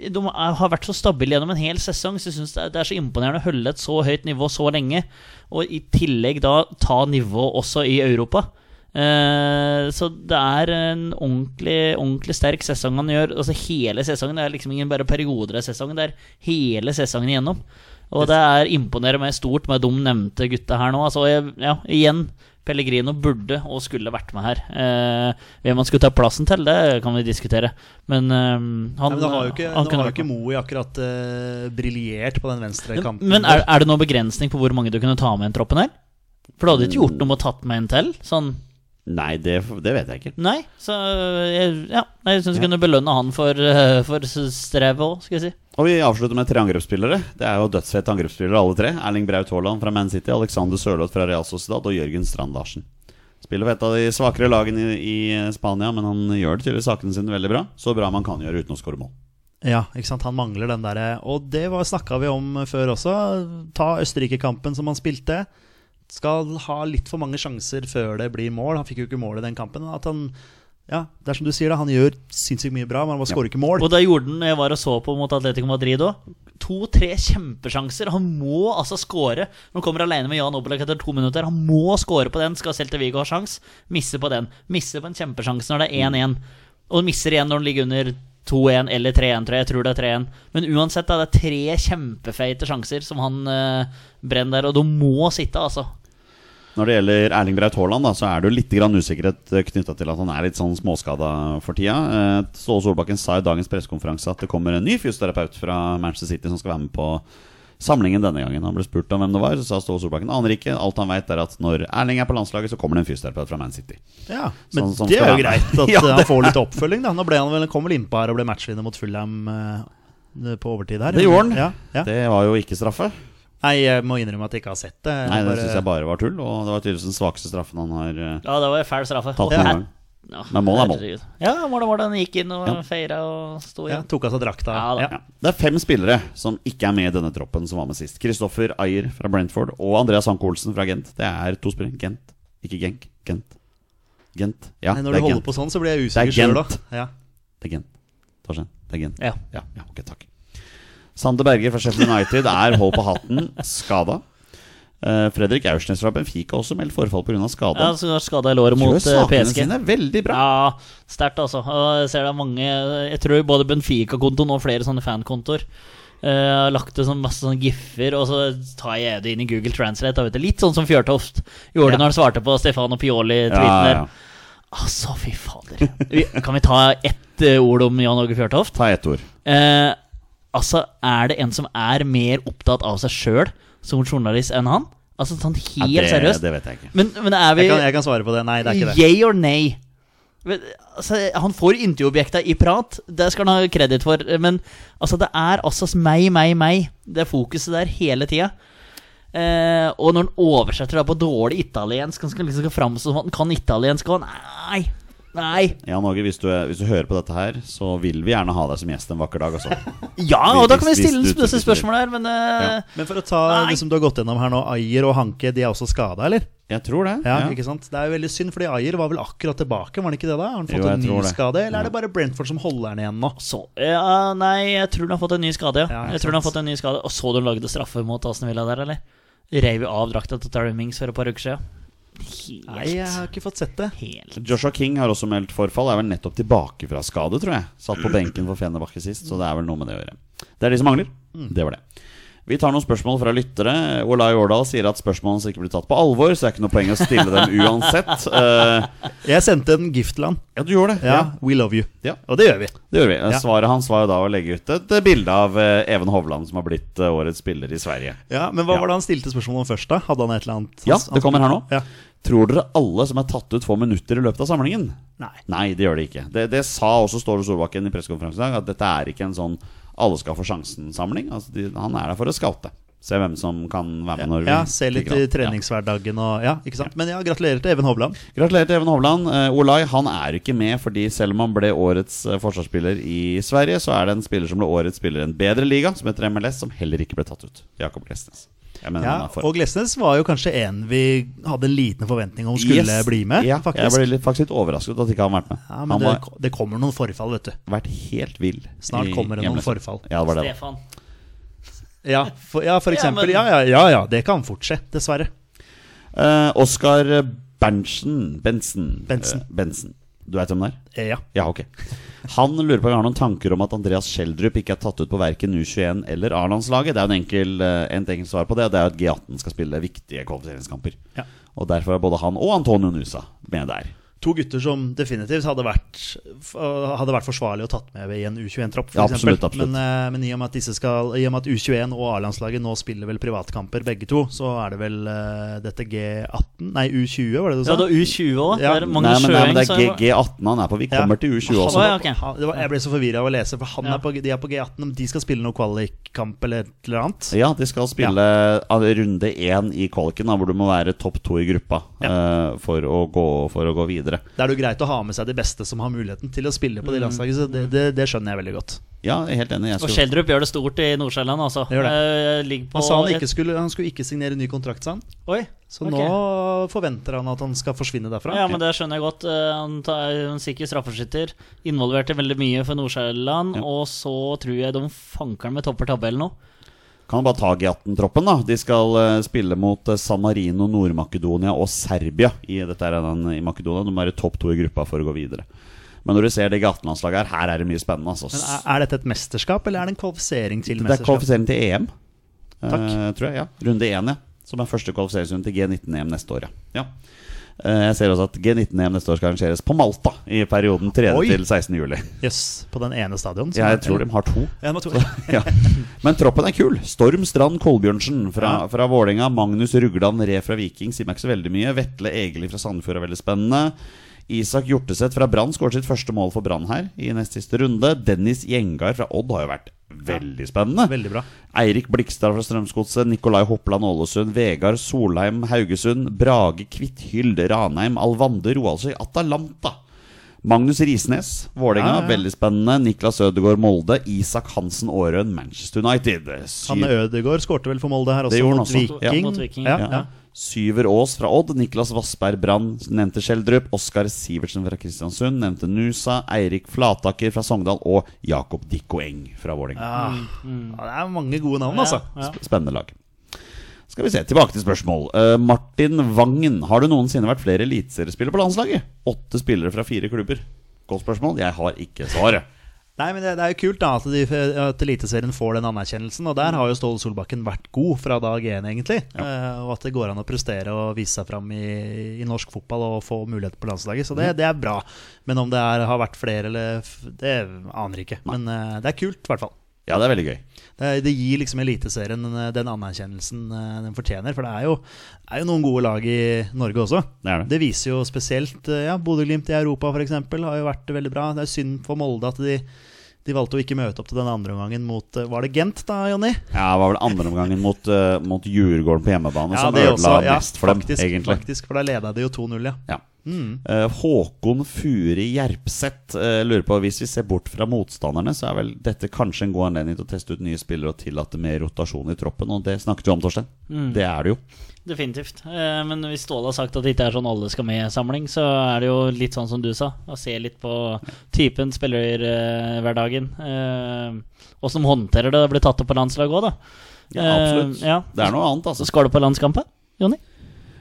eh, de er- har vært så stabile gjennom en hel sesong, så jeg syns det, er- det er så imponerende å holde et så høyt nivå så lenge, og i tillegg da ta nivået også i Europa. Eh, så det er en ordentlig, ordentlig sterk sesong han gjør. Altså hele sesongen. Det er liksom ingen bare perioder av sesongen, det er hele sesongen igjennom. Og det er imponerer meg stort med de nevnte gutta her nå. Altså, jeg, ja, igjen, Pellegrino burde og skulle vært med her. Eh, hvem han skulle ta plassen til, det kan vi diskutere. Men eh, Nei, han, men da har jo ikke, han nå kunne har jo vært ikke med. Moe akkurat uh, briljert på den venstre kanten. Men er, er det noen begrensning på hvor mange du kunne ta med i den troppen her? For du hadde ikke gjort noe med å tatt med en til? Sånn, Nei, det, det vet jeg ikke. nei, så eh, jeg, ja, jeg syns du kunne belønne han for, eh, for strevet òg, skal jeg si. Og vi avslutter med tre angrepsspillere. Det er jo dødsfete angrepsspillere alle tre. Erling Braut Haaland fra Man City, Alexander Sørloth fra Real Sociedad og Jørgen Strand Larsen. Spiller for et av de svakere lagene i, i Spania, men han gjør det tydeligvis sakene sine veldig bra. Så bra man kan gjøre uten å skåre mål. Ja, ikke sant? Han mangler den derre Og det snakka vi om før også. Ta Østerrike-kampen som han spilte. Skal ha litt for mange sjanser før det blir mål. Han fikk jo ikke mål i den kampen. men At han, ja, det er som du sier, da, han gjør sinnssykt mye bra, men han bare skårer ikke mål. Og da gjorde han jeg var og så på mot Atletico Madrid òg. To-tre kjempesjanser. Han må altså score. Når han kommer alene med Jan Oblak etter to minutter. Han må score på den, skal Celta Vigo ha sjans. Misser på den. Misser på en kjempesjanse når det er 1-1. Og han misser igjen når han ligger under 2-1 eller 3-1, tror jeg. Jeg tror det er 3-1. Men uansett, da, det er tre kjempefeite sjanser som han eh, brenner der, og de må sitte, altså. Når det gjelder Erling Braut Haaland, da, så er det jo litt grann usikkerhet knytta til at han er litt sånn småskada for tida. Eh, Ståle Solbakken sa i dagens pressekonferanse at det kommer en ny fysioterapeut fra Manchester City som skal være med på samlingen denne gangen. Han ble spurt om hvem det var, så sa Ståle Solbakken aner ikke. Alt han veit, er at når Erling er på landslaget, så kommer det en fysioterapeut fra Man City. Ja, Men Sånn som det er skal jo være. greit at Ja, eh, det han får litt oppfølging. Da. Nå ble han vel, kom vel innpå her og ble matchvinner mot Fulham eh, på overtid her. Det gjorde han. Ja, ja. Det var jo ikke straffe. Nei, jeg må innrømme at jeg ikke har sett det. Nei, det syns jeg bare var tull. Og det var tydeligvis den svakeste straffen han har eh, Ja, det var en fæl straffe. tatt noen gang. Ja, Men mål er mål. herregud. Ja, mål er mål. Han gikk inn og Ja. feira og sto ja, igjen. Tok av seg drakta. Ja, da. Ja, Ja. Det er fem spillere som ikke er med i denne troppen som var med sist. Kristoffer Ayer fra Brentford og Andreas Anke Olsen fra Gent. Det er to spillere. Gent, ikke Genk. Gent. Gent. Ja, Nei, det er når du holder Gent. på sånn, så blir jeg Det er usikker sjøl Gent. òg. Ja. Det er Gent. Torstein, det er Gent. Ja. Ja, ja ok, takk. Sander Berger fra Sheffield United er hold på hatten, skada. Eh, Fredrik Aursnes fra Benfica også meldt forfall pga. skade. Ja, så skada i låret Gjør mot eh, sakene PSG. sine veldig bra. Ja, sterkt, altså. Og jeg ser det er mange Jeg tror både Benfica-kontoen og flere sånne fankontoer eh, har lagt det som masse sånne giffer, og så tar jeg det inn i Google Translate. da, Vet du. Litt sånn som Fjørtoft gjorde Ja. når han svarte på Stefano Pioli-tweeten Ja, der. ja, ja. Altså, fy fader. Vi, kan vi ta ett eh, ord om Jan Åge Fjørtoft? Ta ett ord. Eh, altså, er det en som er mer opptatt av seg sjøl som journalist enn han? Altså, sånn Ja, helt det, seriøst. Det vet jeg ikke. Men, men er vi Jeg kan, jeg kan svare på det. Nei, det er ikke det. Yay or nay? Men, Altså, han får intervjuobjekta i prat, det skal han ha kreditt for. Men altså, det er altså meg, meg, meg. Det er fokuset der hele tida. Eh, og når han oversetter det på dårlig italiensk, han skal liksom skal framstå som at han kan italiensk og han- Nei! Nei! Jan Åge, hvis, du er- hvis du hører på dette her, så vil vi gjerne ha deg som gjest en vakker dag, altså. Ja, og da kan vi Hvis- hvis stille du- disse spørsmålene her, men eh, Men for å ta Nei. det som du har gått gjennom her nå, Ayer og Hanke, de er også skada, eller? Jeg tror det. Ja, ikke sant? Det er jo veldig synd, fordi Ayer var vel akkurat tilbake, var han ikke det da? Har han fått Jo, jeg en ny tror det. skade, eller er det bare Brentford som holder han igjen nå? så, ja, Nei, jeg tror han har fått en ny skade, ja. Ja, ikke jeg tror han har sant. fått en ny skade Og så du han lagde straffe mot Aston Villa der, eller? Reiv jo av drakta til Terry Mings for et par uker siden. Helt Nei, jeg har ikke fått sett det. Helt Joshua King har også meldt forfall. Er vel nettopp tilbake fra skade, tror jeg. Satt på benken for Fenerbahçe sist, så det er vel noe med det å gjøre. Det er de som mangler. Mm. Det var det. Vi tar noen spørsmål fra lyttere. Olai Årdal sier at spørsmålene hans ikke blir tatt på alvor, så det er ikke noe poeng å stille dem uansett. Eh, Jeg sendte en gift til han. ja, du gjorde det. Ja, We love you. Ja. Og det gjør vi. Det gjorde vi. Eh, Svaret hans var jo da å legge ut et eh, bilde av eh, Even Hovland, som har blitt eh, årets spiller i Sverige. Ja, Men hva Ja. var det han stilte spørsmål om først, da? Hadde han et eller annet? Ja, han- det kommer her nå. Ja. Tror dere alle som er tatt ut, får minutter i løpet av samlingen? Nei. Nei, det gjør det ikke. Det, det sa også Ståle Solbakken i pressekonferansen i dag, at dette er ikke en sånn alle skal få sjansen-samling. Altså, de, han er der for å skaute. Se hvem som kan være med når vi Ja, se litt klikker i an. treningshverdagen og Ja, ikke sant. Men ja, gratulerer til Even Hovland. Ja. Gratulerer til Even Hovland. Eh, Olai han er ikke med, fordi selv om han ble årets eh, forsvarsspiller i Sverige, så er det en spiller som ble årets spiller i en bedre liga, som heter MLS, som heller ikke ble tatt ut. Jakob Glesnes. Jeg mener Ja, han er for. og Glesnes var jo kanskje en vi hadde liten forventning om skulle Yes. bli med, ja, faktisk. Jeg ble litt, faktisk litt overrasket at ikke han har vært med. Ja, men han det, har det kommer noen forfall, vet du. vært helt vill. Snart i kommer det noen hjemløse. forfall. Ja, det var det. Stefan. Ja, for, ja, for Ja, eksempel. men- Ja, ja, ja, ja, det kan fortse, dessverre. Eh, Oskar Berntsen Bensen. Bensen. Eh, Bensen. Du veit hvem det er? Eh, Ja. Ja, ok. Han lurer på om vi har noen tanker om at Andreas Schjelderup ikke er tatt ut på verken U21 eller A-landslaget. Det er jo en enkel, eh, en enkel svar på det. Det er jo at G18 skal spille viktige kvalifiseringskamper. Ja. Og derfor er både han og Antonio Nusa med der. To gutter som definitivt hadde vært, f- hadde vært forsvarlig å tatt med i en U21-tropp. Ja, absolutt, absolutt. Men, eh, men i og med at, disse skal, i og med at U21 og A-landslaget nå spiller vel privatkamper begge to, så er det vel eh, dette G18 Nei, U20, var det du Du sa? hadde U20 òg. Ja. Magnus Sjøeng. nei, men, nei, men det så- er G- G18 han er på. Vi kommer Ja. til U20 også. Å, ja, ok. Han- det var, jeg ble så forvirra av å lese, for han Ja. er på, de er på G18. Om de skal spille noe kvalikkamp eller et eller annet Ja, de skal spille av- runde én i kvaliken, da, hvor du må være topp to i gruppa eh, for, å gå, for å gå videre. Da er det jo greit å ha med seg de beste som har muligheten til å spille Mm. på de landslagene. Så det, det, det skjønner jeg veldig godt. Ja, jeg er helt enig. Jeg Og skulle- Schjelderup gjør det stort i Nord-Sjælland, altså. Gjør Eh, ligger på Han sa han et- ikke skulle, han skulle ikke signere ny kontrakt, sa han. Oi, Så ok. nå forventer han at han skal forsvinne derfra. Ja, men det skjønner jeg godt. Eh, Han tar- er en sikker straffeskytter. Involvert i veldig mye for Nord-Sjælland. Ja. Og så tror jeg de fanker han med topper tabellen nå. Kan bare ta G18-troppen, da. De skal eh, spille mot eh, San Marino, Nord-Makedonia og Serbia. I, dette er den i Makedonia. De må være topp to i gruppa for å gå videre. Men når du ser det G18-landslaget her, her er det mye spennende. Altså. Men er, er dette et mesterskap, eller er det en kvalifisering til det er mesterskap? kvalifisering til EM, eh, Takk. tror jeg. ja Runde én, ja. Som er første kvalifiseringsrunde til G19-EM neste år, ja. ja. Eh, Jeg ser også at G19-EM neste år skal arrangeres på Malta i perioden 3. Oi. til 16. juli. Jøss, på den ene stadion? som er- Jeg tror de har to. Ja, de har to. ja. Men troppen er kul. Storm Strand Kolbjørnsen fra, fra Vålinga. Magnus Rugland Re fra Viking sier meg ikke så veldig mye. Vetle Egeli fra Sandefjord er veldig spennende. Isak Hjorteseth fra Brann skåret sitt første mål for Brann her i nest siste runde. Dennis Gjengar fra Odd har jo vært veldig spennende. Veldig bra. Eirik Blikstad fra Strømsgodset, Nikolai Hoppland Ålesund, Vegard Solheim Haugesund, Brage Kvithyld Ranheim, Alvande Roaldsøy, Atalanta. Magnus Risnes, Vålerenga, Ja, ja, ja. veldig spennende. Niklas Ødegaard Molde, Isak Hansen Aarøen, Manchester United. Syv, Hanne Ødegaard skårte vel for Molde her også, Det gjorde han mot, også. Viking. Ja, mot Viking. Ja, ja. ja. Syver Aas fra Odd, Niklas Vassberg Brann, nevnte Skjeldrup, Oskar Sivertsen fra Kristiansund, nevnte Nusa, Eirik Flataker fra Sogndal og Jakob Dikko Eng fra Vålerenga. Mm. Ja. ja, det er mange gode navn, altså. Ja, ja. Spennende lag. Skal vi se, Tilbake til spørsmål. Eh, Martin Vangen, har det noensinne vært flere eliteseriespillere på landslaget? Åtte spillere fra fire klubber. Godt spørsmål. Jeg har ikke svaret. Nei, men det, det er jo kult da at, de, at Eliteserien får den anerkjennelsen. Og der har jo Ståle Solbakken vært god fra dag én, egentlig. Eh, og at det går an å prestere og vise seg fram i, i norsk fotball og få mulighet på landslaget. Så det, det er bra. Men om det er, har vært flere eller f- Det aner jeg ikke. Men eh, det er kult, i hvert fall. Ja, det er veldig gøy. Det, det gir liksom Eliteserien den, den anerkjennelsen eh, den fortjener. For det er jo, det er jo noen gode lag i Norge også. Det er det. Det viser jo spesielt eh, ja, Bodø-Glimt i Europa for eksempel, har jo vært veldig bra. Det er synd for Molde at de, de valgte å ikke møte opp til den andre omgangen mot eh, Var det Gent, da, Jonny? Ja, det var vel andre omgangen mot, eh, mot Djurgården på hjemmebane som ødela mest for faktisk, dem, egentlig. Faktisk, Mm. for da leda de jo 2-0, ja. Ja. Eh, Håkon Furi Gjerpseth eh, lurer på Hvis vi ser bort fra motstanderne, så er vel dette kanskje en god anledning til å teste ut nye spillere og tillate mer rotasjon i troppen. Og det snakket vi om, Torstein. Mm. Mm. Det er det jo. Definitivt. Eh, Men hvis Ståle har sagt at det ikke er sånn alle skal med-samling, så er det jo litt sånn som du sa. Å se litt på typen eh, spillerhverdagen. Åssen de Eh, håndterer det å bli tatt opp på landslaget òg, da. Ja, Eh, absolutt. ja. Det er noe annet, altså. Skal du på landskampen, Jonny?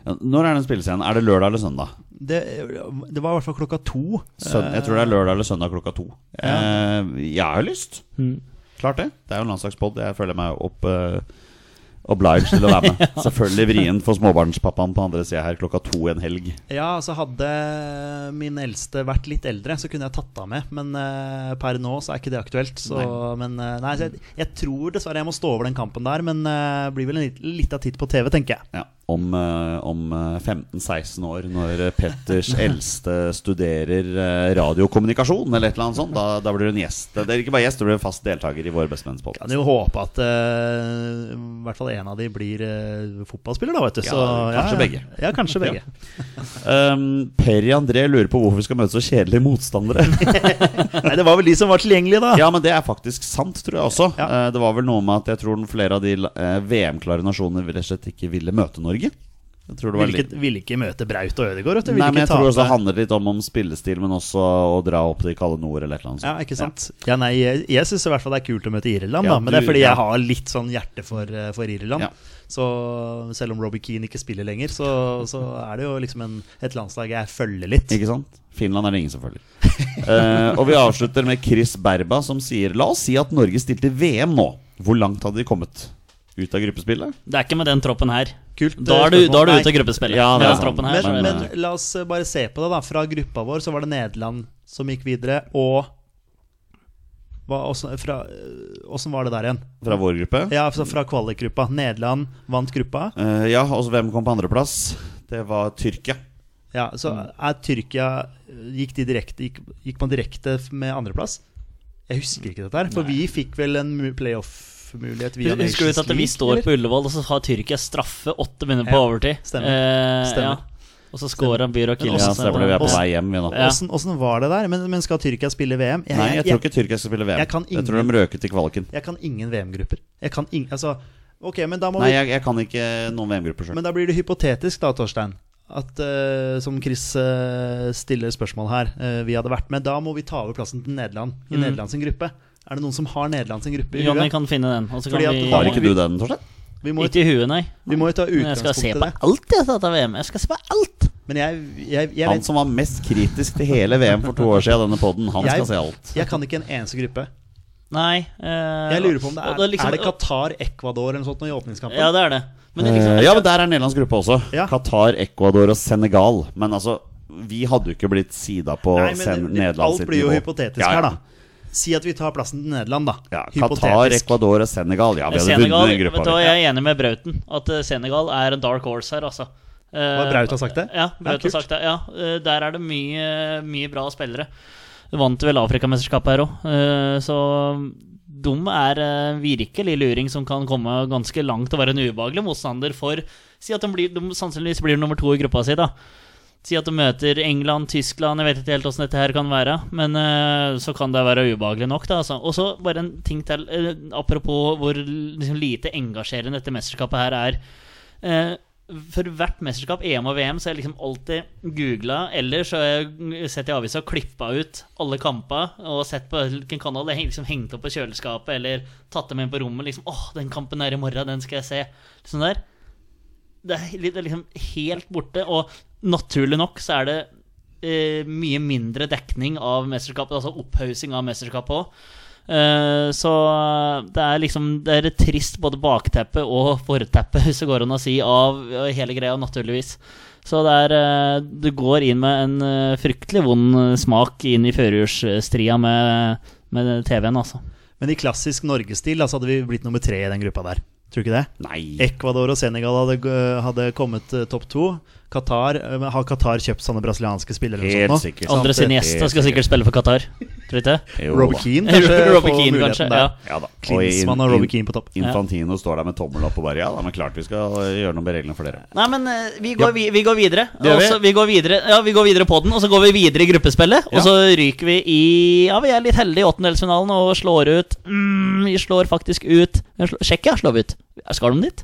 Når er den spillescenen? Er det lørdag eller søndag? Det, det var i hvert fall klokka to. Søn jeg tror det er lørdag eller søndag klokka to. Eh, jeg har jo lyst. Klart det. Det er jo en landslagspod. Jeg føler meg opp eh, obliged til å være med. Selvfølgelig vrient for småbarnspappaen på andre sida her klokka to en helg. Ja, altså hadde min eldste vært litt eldre, så kunne jeg tatt henne med. Men eh, per nå så er ikke det aktuelt. Så, men, eh, nei, så jeg, jeg tror dessverre jeg må stå over den kampen der, men eh, blir vel en lit- lita titt på TV, tenker jeg. Ja, om eh, om eh, 15-16 år, når eh, Petters eldste studerer eh, radiokommunikasjon eller et eller annet sånt, da, da blir hun gjest. Det er ikke bare gjest, du blir fast deltaker i Vår bestevenns Kan jo håpe at eh, i hvert fall en av de blir eh, fotballspiller, da, vet du. Ja, Så, kanskje begge. Ja, kanskje begge. Um, Peri André lurer på hvorfor vi skal møte så kjedelige motstandere. Nei, det var vel de som var tilgjengelige, da. Ja, men det er faktisk sant, tror jeg også. Ja. Eh, Det var vel noe med at jeg tror flere av de eh, VM-klare nasjonene rett og slett ikke ville møte Norge. Jeg tror det var Ville litt... ikke, ville ikke møte Braut og Ødegaard, vet du. Ville Nei, men ikke jeg tror tape. også det handler litt om, om spillestil, men også å dra opp til kalde nord eller et eller annet. Ja, sånt. ikke sant? Ja, nei, Jeg, jeg syns i hvert fall det er kult å møte Irland, Ja, da. Men det er du- fordi ja. jeg har litt sånn hjerte for, eh, for Irland. Ja. Så selv om Robbie Keane ikke spiller lenger, så, så er det jo liksom en, et landslag jeg følger litt. Ikke sant? Finland er det ingen som følger. Eh, og vi avslutter med Chris Berba som sier La oss si at Norge stilte VM nå. Hvor langt hadde de kommet? Ut av gruppespillet? Det er ikke med den troppen her. Kult Da eh, er du, da er du spørsmål. ute av Nei, gruppespillet. Ja, det er Med den sant. troppen her, så Nei, er Men, det- nei, men nei. la oss eh, bare se på det, da. Fra gruppa vår så var det Nederland som gikk videre, og hva, åssen, fra, eh, åssen var det der igjen? Fra vår gruppe? Ja, altså fra kvalikgruppa. Nederland vant gruppa. Eh, ja, og så hvem kom på andreplass? Det var Tyrkia. Ja, så er Tyrkia eh, Gikk, de direkte, gikk, gikk man direkte med andreplass? Jeg husker ikke dette her, for vi fikk vel en mu- playoff-mulighet via Husker du ikke at vi står på Ullevål, og så har Tyrkia straffe åtte minutter på Ja, overtid? stemmer. Eh, Stemmer. Ja. Og så scorer han Byrå Ja, Kilsen. stemmer det. Vi er på Åssen- vei hjem, vi nå. Ja. Åssen åssen var det der? Men, men skal Tyrkia spille VM? Nei, jeg tror ikke Tyrkia skal spille VM. Eh, Jeg kan Jeg tror ingen- de røket i kvaliken. jeg kan ingen VM-grupper. Jeg kan ingen Altså, ok, men da må Nei, vi jeg, jeg kan ikke noen VM-grupper sjøl. Men da blir det hypotetisk da, Torstein. At eh, som Chris eh, stiller spørsmål her, eh, vi hadde vært med. Da må vi ta over plassen til Nederland i Nederland sin gruppe. Er det noen som har Nederland sin gruppe i Jonny huet? Mm. kan finne den. Og så kan Fordi at vi da Har må ikke du den, Torstein? Vi må jo Ikke i huet, nei. Vi må jo ta Men jeg skal utgangspunkt se i på det. alt, jeg, dette VM. Jeg skal se på alt! Men jeg, jeg, jeg, Han vet, som var mest kritisk til hele VM for to år siden, denne podden, han skal Jeg- se alt. jeg kan ikke en eneste gruppe. Nei. eh, Jeg lurer på om det og er, da liksom- er det Qatar, Ecuador eller noe sånt nå i åpningskampen? Ja, det er det. Men det Eh, liksom, ja, men der er Nederlands gruppe også. Ja. Qatar, Ecuador og Senegal. Men altså, vi hadde jo ikke blitt sida på Nei, Sen- men det, det, Nederlands alt sitt blir jo nivå. hypotetisk Ja, ja. her, da. Si at vi tar plassen til Nederland, da. Ja, Qatar, hypotetisk. Ecuador og Senegal. Ja, vi hadde Senegal vunnet den vet du, gruppa. hva, vi. Jeg er enig med Brauten. At eh, Senegal er en dark horse her, altså. Eh, Hva Braut har sagt det? Ja, Ja, Braut kult. har sagt det. Ja, eh, der er det mye, mye bra spillere. Vant vel Afrikamesterskapet her òg, så de er eh, virkelig luring som kan komme ganske langt og være en ubehagelig motstander for Si at de, blir, de sannsynligvis blir nummer to i gruppa si, da. Si at de møter England, Tyskland, jeg vet ikke helt åssen dette her kan være. Men eh, så kan det være ubehagelig nok, da. Altså. Og så bare en ting til. eh, apropos hvor liksom, lite engasjerende dette mesterskapet her er. Eh, for hvert mesterskap, EM og VM, så har jeg liksom alltid googla. Eller så har jeg sett i avisa og klippa ut alle kampene og sett på hvilken kanal det er liksom hengt opp på kjøleskapet, eller tatt dem inn på rommet. liksom, åh, den kampen er i morgen, den skal jeg se. Sånn der det er litt- det er liksom helt borte. Og naturlig nok så er det eh, mye mindre dekning av mesterskapet, altså opphaussing av mesterskapet òg. Eh, så det er liksom Det er et trist både bakteppe og forteppe, hvis det går an å si, av av hele greia, naturligvis. Så det er eh, Du går inn med en eh, fryktelig vond eh, smak inn i førjulsstria med, med TV-en, altså. Men i klassisk Norgestil da, så hadde vi blitt nummer tre i den gruppa der. Tror du ikke det? Nei. Ecuador og Senegal hadde, g- hadde kommet eh, topp to. Qatar, eh, men har Qatar kjøpt sånne brasilianske spillere? eller Helt noe sånt nå? sikkert. Andre Sant, det- Siniesta skal sikkert spille for Qatar, tror du ikke? Jo Eh, Robbie da. Keane, kanskje? Robbie får Keane, muligheten kanskje, der. ja. Ja da. Og Klinsmann in- og Robbie in- Keane på topp. Infantino står der med tommel opp og bare Ja da, men klart vi skal eh, gjøre noe med reglene for dere. Nei, men eh, vi går, Ja. vi, vi går videre. Det gjør Og vi. så- vi. går videre. Ja, vi går videre på den, og så går vi videre i gruppespillet. Ja. Og så ryker vi i Ja, vi er litt heldige i åttendelsfinalen og slår ut mm, Vi slår faktisk ut vi slår- Tsjekkia slår vi ut. Skal de dit?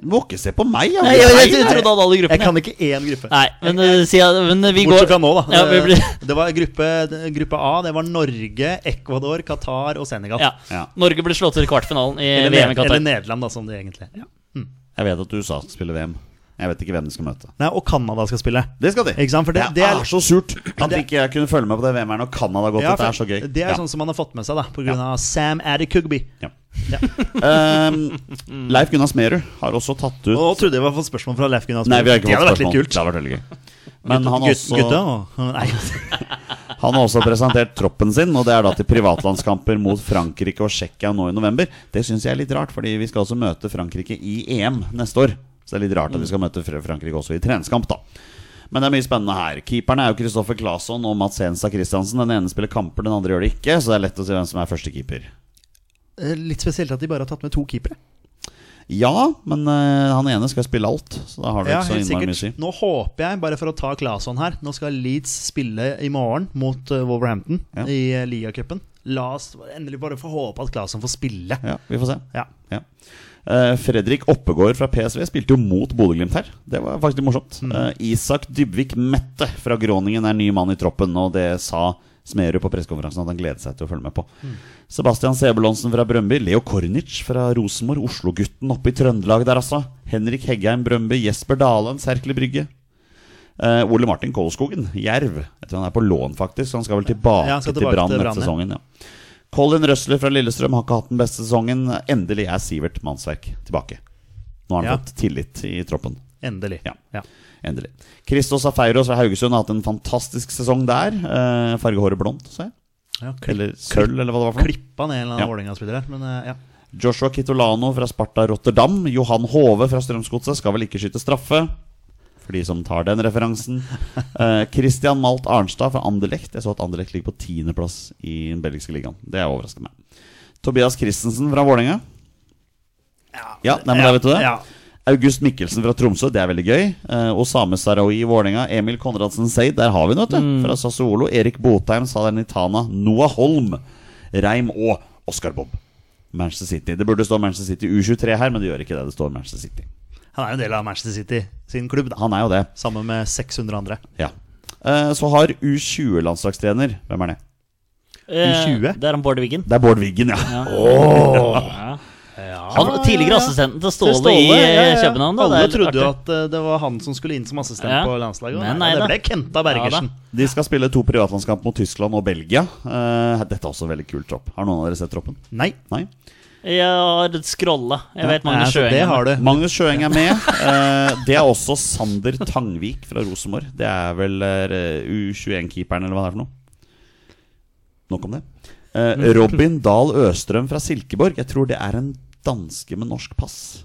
Du må ikke se på meg! ja. Nei, jeg, jeg, Nei, trodde alle hadde Jeg gruppene. kan ikke én gruppe. Nei, men, eh, si, at- men vi går Bortsett fra nå, da. Eh, Ja, vi blir, Det var gruppe, gruppe A. Det var Norge, Ecuador, Qatar og Senegal. ja. Ja. Norge ble slått ut i kvartfinalen i Eller, VM i Ned- eller Qatar. Nederland, da, som det egentlig er. Jeg vet at USA skal spille VM. Jeg vet ikke hvem de skal møte. Nei, og Canada skal spille. Det skal de. Ikke sant? For det, det- det er- er så surt at det- ikke jeg kunne følge med på det VM-et når Canada har gått. Ja, Dette for er så gøy. Det er Ja. sånn som man har fått med seg, da, pga. av Sam Addicugby. Ja. Ja. Ehm, Leif Gunnar Smerud har også tatt ut Nå trodde jeg vi hadde fått spørsmål fra Leif Gunnar Nei, vi har ikke Det hadde fått vært litt spørsmål. kult. Det har vært veldig gøy. Men han har Gutt- også, Gutta og Nei. han har også presentert troppen sin, og det er da til privatlandskamper mot Frankrike og Tsjekkia nå i november. Det syns jeg er litt rart, fordi vi skal også møte Frankrike i EM neste år. Så det er litt rart at vi skal møte Fr- Frankrike også i treningskamp, da. Men det er mye spennende her. Keeperne er jo Kristoffer Claesson og Mats Henstad Christiansen. Den ene spiller kamper, den andre gjør det ikke, så det er lett å si hvem som er første keeper. Eh, Litt spesielt at de bare har tatt med to keepere. Ja, men eh, han ene skal spille alt, så da har du Ja, ikke så helt innmari mye å si. sikkert. Nå håper jeg, bare for å ta Claesson her Nå skal Leeds spille i morgen mot eh, Wolverhampton Ja. i eh, ligacupen. La oss endelig bare få håpe at Claesson får spille. Ja, vi får se. Ja. Ja. Eh, Fredrik Oppegård fra PSV spilte jo mot Bodø-Glimt her. Det var faktisk litt morsomt. Mm. Eh, Isak Dybvik Mette fra Groningen er ny mann i troppen, og det sa Smerud på pressekonferansen at han gleder seg til å følge med på. Mm. Sebastian Sebulonsen fra Brøndby, Leo Kornic fra Rosenborg, Oslo-gutten oppe i Trøndelag der, altså. Henrik Heggheim Brøndby, Jesper Dalen, Serkle Brygge. Eh, Ole Martin Kolskogen, Jerv. Jeg tror han er på lån, faktisk. så Han skal vel tilbake, Ja, han skal til tilbake Brann til denne Brann, ja. sesongen. Ja. Colin Røsler fra Lillestrøm har ikke hatt den beste sesongen. Endelig er Sivert Mannsverk tilbake. Nå har han Ja. fått tillit i troppen. Endelig. Ja. Ja. Endelig. Christos Afeiros fra Haugesund har hatt en fantastisk sesong der. Eh, Fargehåret blondt, sa jeg. Ja, klipp- Eller sølv, eller hva det var for noe. Klippa ned en eller annen Ja. Vålerenga-spiller her, men eh, ja. Joshua Kitolano fra Sparta Rotterdam. Johan Hove fra Strømsgodset skal vel ikke skyte straffe. For de som tar den referansen. Eh, Christian Malt Arnstad fra Anderlecht. Jeg så at Anderlecht ligger på tiendeplass i den belgiske ligaen. Det er overraskende. Tobias Christensen fra Vålerenga. Ja, nei, men da vet du det. Ja. August Mikkelsen fra Tromsø, det er veldig gøy. Eh, Osame Sarawi i Vålerenga. Emil Konradsen Seid, der har vi noe, vet du. Fra Sassuolo. Erik Botheim, Salernitana. Noah Holm. Reim og Oscar Bob. Manchester City. Det burde stå Manchester City U23 her, men det gjør ikke det. Det står Manchester City. Han er jo en del av Manchester City sin klubb, da. Han er jo det. Sammen med 600 andre. Ja. Eh, Så har U20-landslagstrener Hvem er det? Eh, 20? Det er han Bård Wiggen. Det er Bård Wiggen, ja. Ja. Han var tidligere assistenten til Ståle, i eh, København. Da. Alle Det er litt trodde jo artig. at eh, det var han som skulle inn som assistent Ja. på landslaget. og Men nei, nei det da. ble Kenta Bergersen. De skal spille to privatlandskamp mot Tyskland og Belgia. Eh, Dette er også en veldig kul tropp. Har noen av dere sett troppen? nei. Nei? Jeg har scrolla. Jeg vet Nei, Magnus så Sjøeng. det har du. Magnus Sjøeng er med. Eh, det er også Sander Tangvik fra Rosenborg. Det er vel eh, U21-keeperen, eller hva det er for noe. Nok om det. Eh, Robin Dahl Østrøm fra Silkeborg. Jeg tror det er en danske med norsk pass.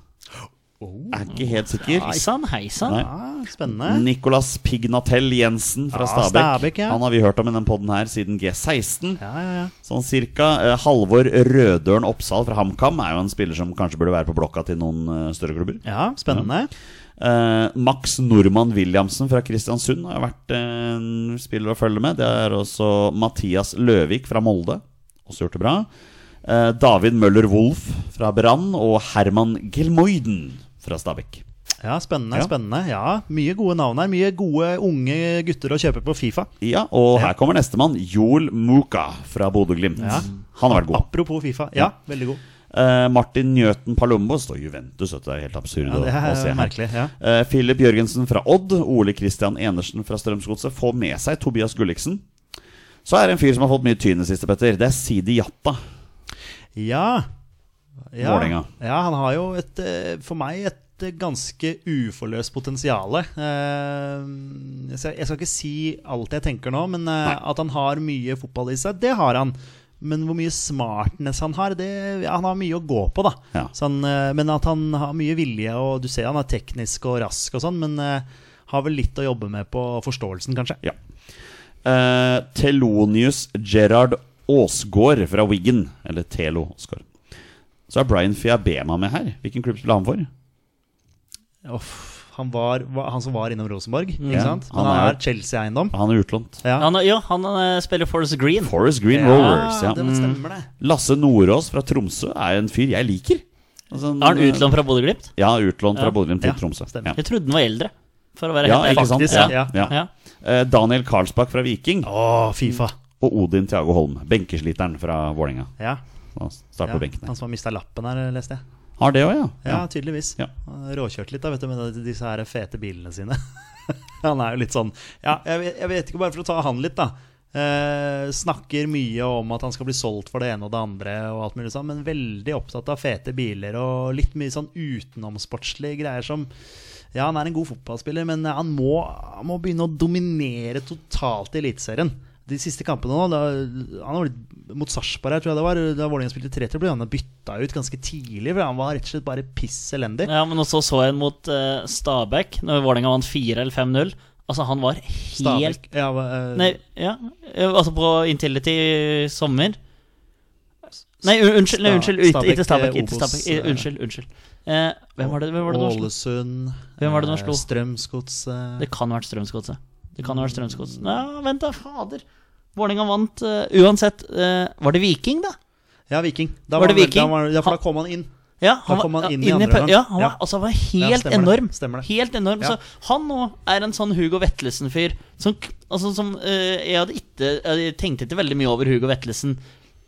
Er ikke helt sikker. Hei sann, hei sann. Nei. Ah, spennende. Nicolas Pignatell Jensen fra Ja, Stabekk. Stabæk, Ah, ja. Han har vi hørt om i den podden her siden G16. Ja, ja, ja. Sånn cirka. Eh, Halvor Rødøren Oppsal fra HamKam er jo en spiller som kanskje burde være på blokka til noen eh, større klubber. ja spennende. Eh, Max Normann Williamsen fra Kristiansund har vært eh, en spiller å følge med. Det er også Mathias Løvik fra Molde. Også gjort det bra. Eh, David Møller Wolff fra Brann og Herman Gilmoiden fra Stabekk. Ja, spennende, Ja. spennende. Ja, Mye gode navn her. Mye gode unge gutter å kjøpe på Fifa. Ja, og her kommer nestemann. Joel Muka fra Bodø-Glimt. Ja. Han har vært god. Apropos Fifa. Ja, veldig god. Eh, Martin Njøten Palumbo står Juventus, vet du, det er helt absurd Ja, det å, å er se her. merkelig. Ja. Eh, Philip Jørgensen fra Odd, Ole Kristian Enersen fra Strømsgodset får med seg Tobias Gulliksen. Så er det en fyr som har fått mye tyn i det siste, Petter. Det er Sidi Jatta. Ja. Ja. Vålerenga. ja, han har jo et, eh, for meg et eh, ganske uforløst potensial. Eh, Jeg skal jeg skal ikke si alt jeg tenker nå, men eh, at han har mye fotball i seg, det har han. Men hvor mye smartness han har, det, ja, han har mye å gå på, da. Ja. Så han, eh, men at han har mye vilje, og du ser han er teknisk og rask og sånn, men eh, har vel litt å jobbe med på forståelsen, kanskje. Ja. Eh, Telonius Gerard Aasgaard fra Wiggen. Eller Telo Aasgaard. Så er Brian Fiabema med her. Hvilken klubb spiller han for? Uff, han, var, var, han som var innom Rosenborg, Ja, ikke sant? han Men han er- er Chelsea-eiendom. Han er utlånt. Ja. Han, ja, han eh, spiller Forest Green. Forest Green Rovers. Ja. Mm. det vel stemmer det. Lasse Nordås fra Tromsø er en fyr jeg liker. Altså, Er han utlånt fra Bodø-Glimt? Ja, utlånt fra Ja. Bodø Glimt til Ja, Tromsø. stemmer. Jeg trodde han var eldre. For å være Ja, helt ikke ærlig. sant? ja. Faktisk, ja. Ja. Ja. Eh, Daniel Karlsbakk fra Viking. Å, Fifa. og Odin Thiago Holm, benkesliteren fra Vålerenga. Ja. Han Start ja. på benken. Han som har mista lappen her, leste jeg. Har det òg, ja. Ja, tydeligvis. Ja. Han har Råkjørt litt da, vet du, med disse her fete bilene sine. han er jo litt sånn Ja, jeg vet, jeg vet ikke, bare for å ta han litt, da. Eh, snakker mye om at han skal bli solgt for det ene og det andre, og alt mulig sånn, men veldig opptatt av fete biler og litt mye sånn utenomsportslige greier som Ja, han er en god fotballspiller, men han må, han må begynne å dominere totalt i Eliteserien. De siste kampene nå da, Han var litt mot Sarpsborg her, tror jeg det var. Da Vålerenga spilte 3-3, ble han bytta ut ganske tidlig. For han var rett og slett bare piss elendig. Ja, men også så jeg en mot eh, Stabæk, når Vålerenga vant 4 eller 5-0. Altså, han var helt Stabæk- ja, hva- eh, Nei, ja. eh, Altså på Intility i sommer. Nei, un- unnskyld, nei, Sta- unnskyld. ut- Stabæk, Ikke Stabæk. eh, Ikke Obos, Stabæk. I- eh. Unnskyld. unnskyld Eh, hvem var det hvem var det de slo? Ålesund. Hvem var det de eh, slo? Strømsgodset. Det kan ha vært Strømsgodset. Det kan ha vært Strømsgodset. Nei, vent da, fader. Vålerenga vant. eh, uansett, eh, var det Viking, da? Ja, Viking. Da Var det han- Viking? Da var, ja, for da kom han inn. Ja, Da kom han ja, inn i andre pau- gang. Ja, han var, Ja. altså, han var stemmer helt det. enorm. Stemmer det. Helt enorm. Ja. Så han nå er en sånn Hugo Vetlesen-fyr som, k- altså, som eh, jeg, hadde ikke, jeg tenkte ikke veldig mye over Hugo Vetlesen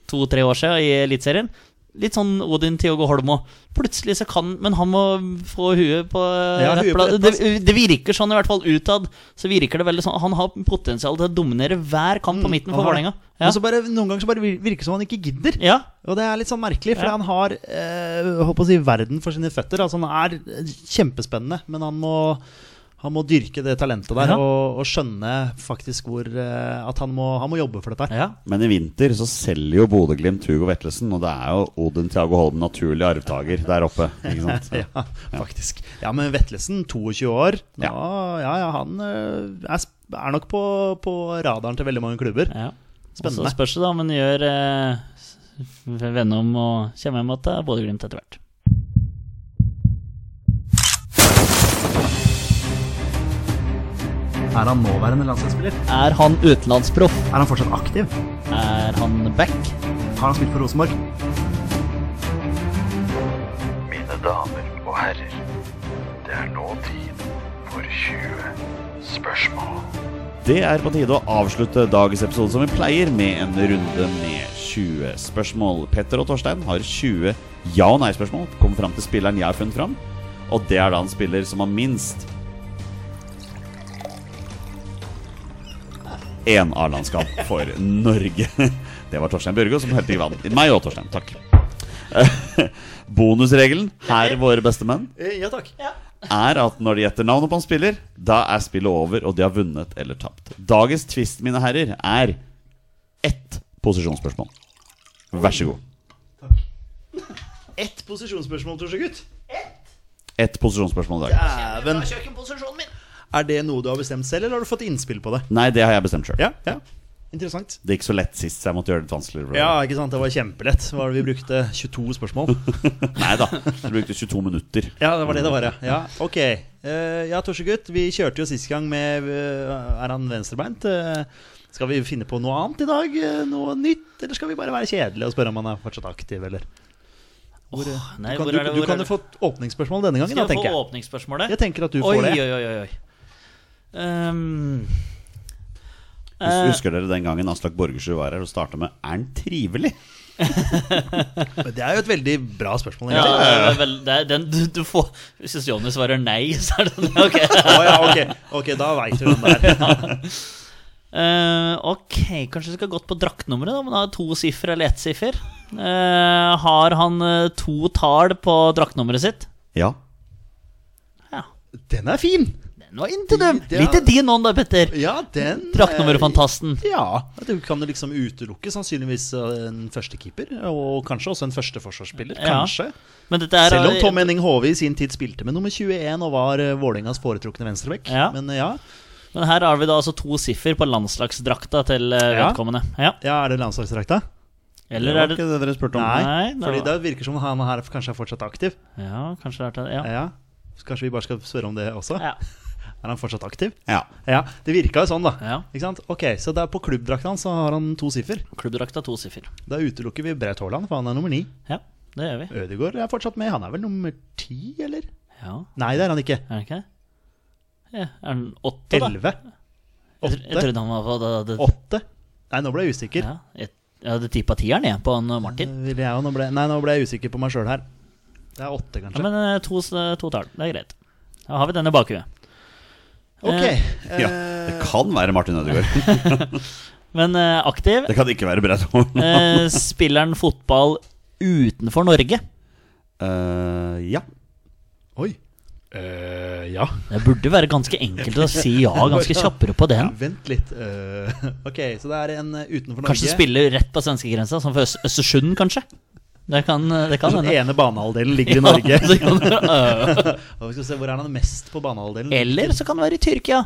to-tre år siden i Eliteserien. Litt sånn Odin Tiogo Holmo. Plutselig så kan Men han må få huet på eh, Ja, rett huet på plass. rett Det, plass. det virker sånn, i hvert fall utad. Så virker det veldig sånn Han har potensial til å dominere hver kamp på midten Mm, Han for har- Vålerenga. Men Ja. så bare, noen ganger så bare vir- virker det som han ikke gidder. ja. Og det er litt sånn merkelig, for Ja. han har eh, jeg håper å si, verden for sine føtter. Altså Han er eh, kjempespennende, men han må, han må dyrke det talentet der Ja. og, og skjønne faktisk hvor eh, At han må, han må jobbe for dette. her. ja. Men i vinter så selger jo Bodø-Glimt Hugo Vettelsen, og det er jo Odin Thiago Holm naturlig arvtaker der oppe. Ikke sant? Ja, faktisk. Ja, men Vetlesen, 22 år nå, ja. ja, han eh, er, sp- er nok på, på radaren til veldig mange klubber. Ja. Spennende. Og Så spørs det da om en gjør eh, vende om og kommer hjem at det er eh, Bodø-Glimt etter hvert. Er han nåværende landslagsspiller? Er han utenlandsproff? Er han fortsatt aktiv? Er han back? Har han spilt for Rosenborg? Mine damer og herrer, det er nå tid for 20 spørsmål. Det er på tide å avslutte dagens episode som vi pleier, med en runde med 20 spørsmål. Petter og Torstein har 20 ja- og nei-spørsmål. Kommer fram til spilleren jeg har funnet fram, og det er da en spiller som har minst én A-landskap for Norge. Det var Torstein Børgo som helt i vann. Meg og Torstein, takk. Bonusregelen her, våre bestemenn, Eh, Ja takk. er at når de gjetter navnet på en spiller, da er spillet over, og de har vunnet eller tapt. Dagens twist, mine herrer, er ett posisjonsspørsmål. Vær så god. Ett posisjonsspørsmål, Torsegutt. Ett posisjonsspørsmål i dag. Dæven. Er det noe du har bestemt selv, eller har du fått innspill på det? Nei, det har jeg bestemt sjøl. Ja, ja. Interessant. Det gikk så lett sist, så jeg måtte gjøre det litt vanskeligere. for deg. Ja, ikke sant. Det var kjempelett. Hva var det vi brukte? 22 spørsmål? Nei da, du brukte 22 minutter. Ja, det var det det var, ja. ja ok. Eh, ja, Torsegutt, vi kjørte jo sist gang med eh, Er han venstrebeint? Eh, skal vi finne på noe annet i dag? Eh, noe nytt? Eller skal vi bare være kjedelige og spørre om han er fortsatt aktiv, eller? Hvor, eh, nei, du kan, hvor du, er det- du hvor er kan jo det? få et åpningsspørsmål denne gangen, Skal da, jeg tenker få jeg. åpningsspørsmålet? Jeg tenker at du får oi, det. Oi, oi, oi. Ehm, Hus- eh, Husker dere den gangen Aslak Borgersrud var her og starta med 'Er han trivelig?' Men det er jo et veldig bra spørsmål. eh, ja, egentlig. det er vel, det er den, du, du får Hvis Jonny svarer nei, så er det den. Ok. Å, ja, ok. ok, da veit du hvem det er. Eh, ok, kanskje vi skal gått på draktnummeret, da. Om han har to siffer eller ett siffer. Eh, har han eh, to tall på draktnummeret sitt? Ja. Ja. Den er fin! Den var inntil dem. Det- Litt til din ånd da, Petter. Ja, den eh, Draktnummerfantasten. Ja. Du kan jo liksom utelukke sannsynligvis eh, en førstekeeper, og kanskje også en førsteforsvarsspiller. Ja. Kanskje. Men dette er Selv om Tom Henning Hove i sin tid spilte med nummer 21 og var eh, Vålerengas foretrukne venstrebekk. Ja. Men eh, ja. Men her har vi da altså to siffer på landslagsdrakta til eh, Ja. vedkommende. Ja. ja, er det landslagsdrakta? Det Eller var er det ikke det dere spurte om. Nei, Nei, det fordi var- det virker som han her kanskje er fortsatt aktiv. Ja, kanskje det er til Ja. Ja. Så Kanskje vi bare skal spørre om det også? ja. Er han fortsatt aktiv? Ja. Ja, det virka jo sånn, da. Ja. Ikke sant? Ok, Så der på klubbdrakta hans så har han to siffer. Klubbdrakta to siffer. Da utelukker vi Braut Haaland, for han er nummer ni. Ja, det gjør vi. Ødegaard er fortsatt med. Han er vel nummer ti, eller? Ja, Nei, det er han ikke. Er det ikke det? Ja. Er den åtte, da? Elleve. Jeg, tr- jeg Åtte. trodde han var på det, det, Åtte. Nei, nå ble jeg usikker. ja, jeg, jeg hadde tippa tieren, jeg, på han eh, Martin. Ville jeg, jo- nå ble, nei, nå ble jeg usikker på meg sjøl her. Det er åtte, kanskje. Ja, men eh, to, s- to tall. Det er greit. Da har vi den i bakhuet. ok. eh, Ja, det kan være Martin Ødegaard. Men eh, aktiv Det kan ikke være Brett Holm. eh, Spiller han fotball utenfor Norge? Eh, ja. Oi. ja. Det burde være ganske enkelt å si ja ganske kjappere på den. Vent litt. eh, ok, så det er en eh, utenfor Norge. Kanskje spille rett på svenskegrensa, som for Øst Østersund, kanskje? Det kan, eh, det kan Den hende. ene banehalvdelen ligger Sånn i Norge. Ja, det kan- øh. Eh, Og vi skal se, Hvor er han mest på banehalvdelen? Eller så kan det være i Tyrkia.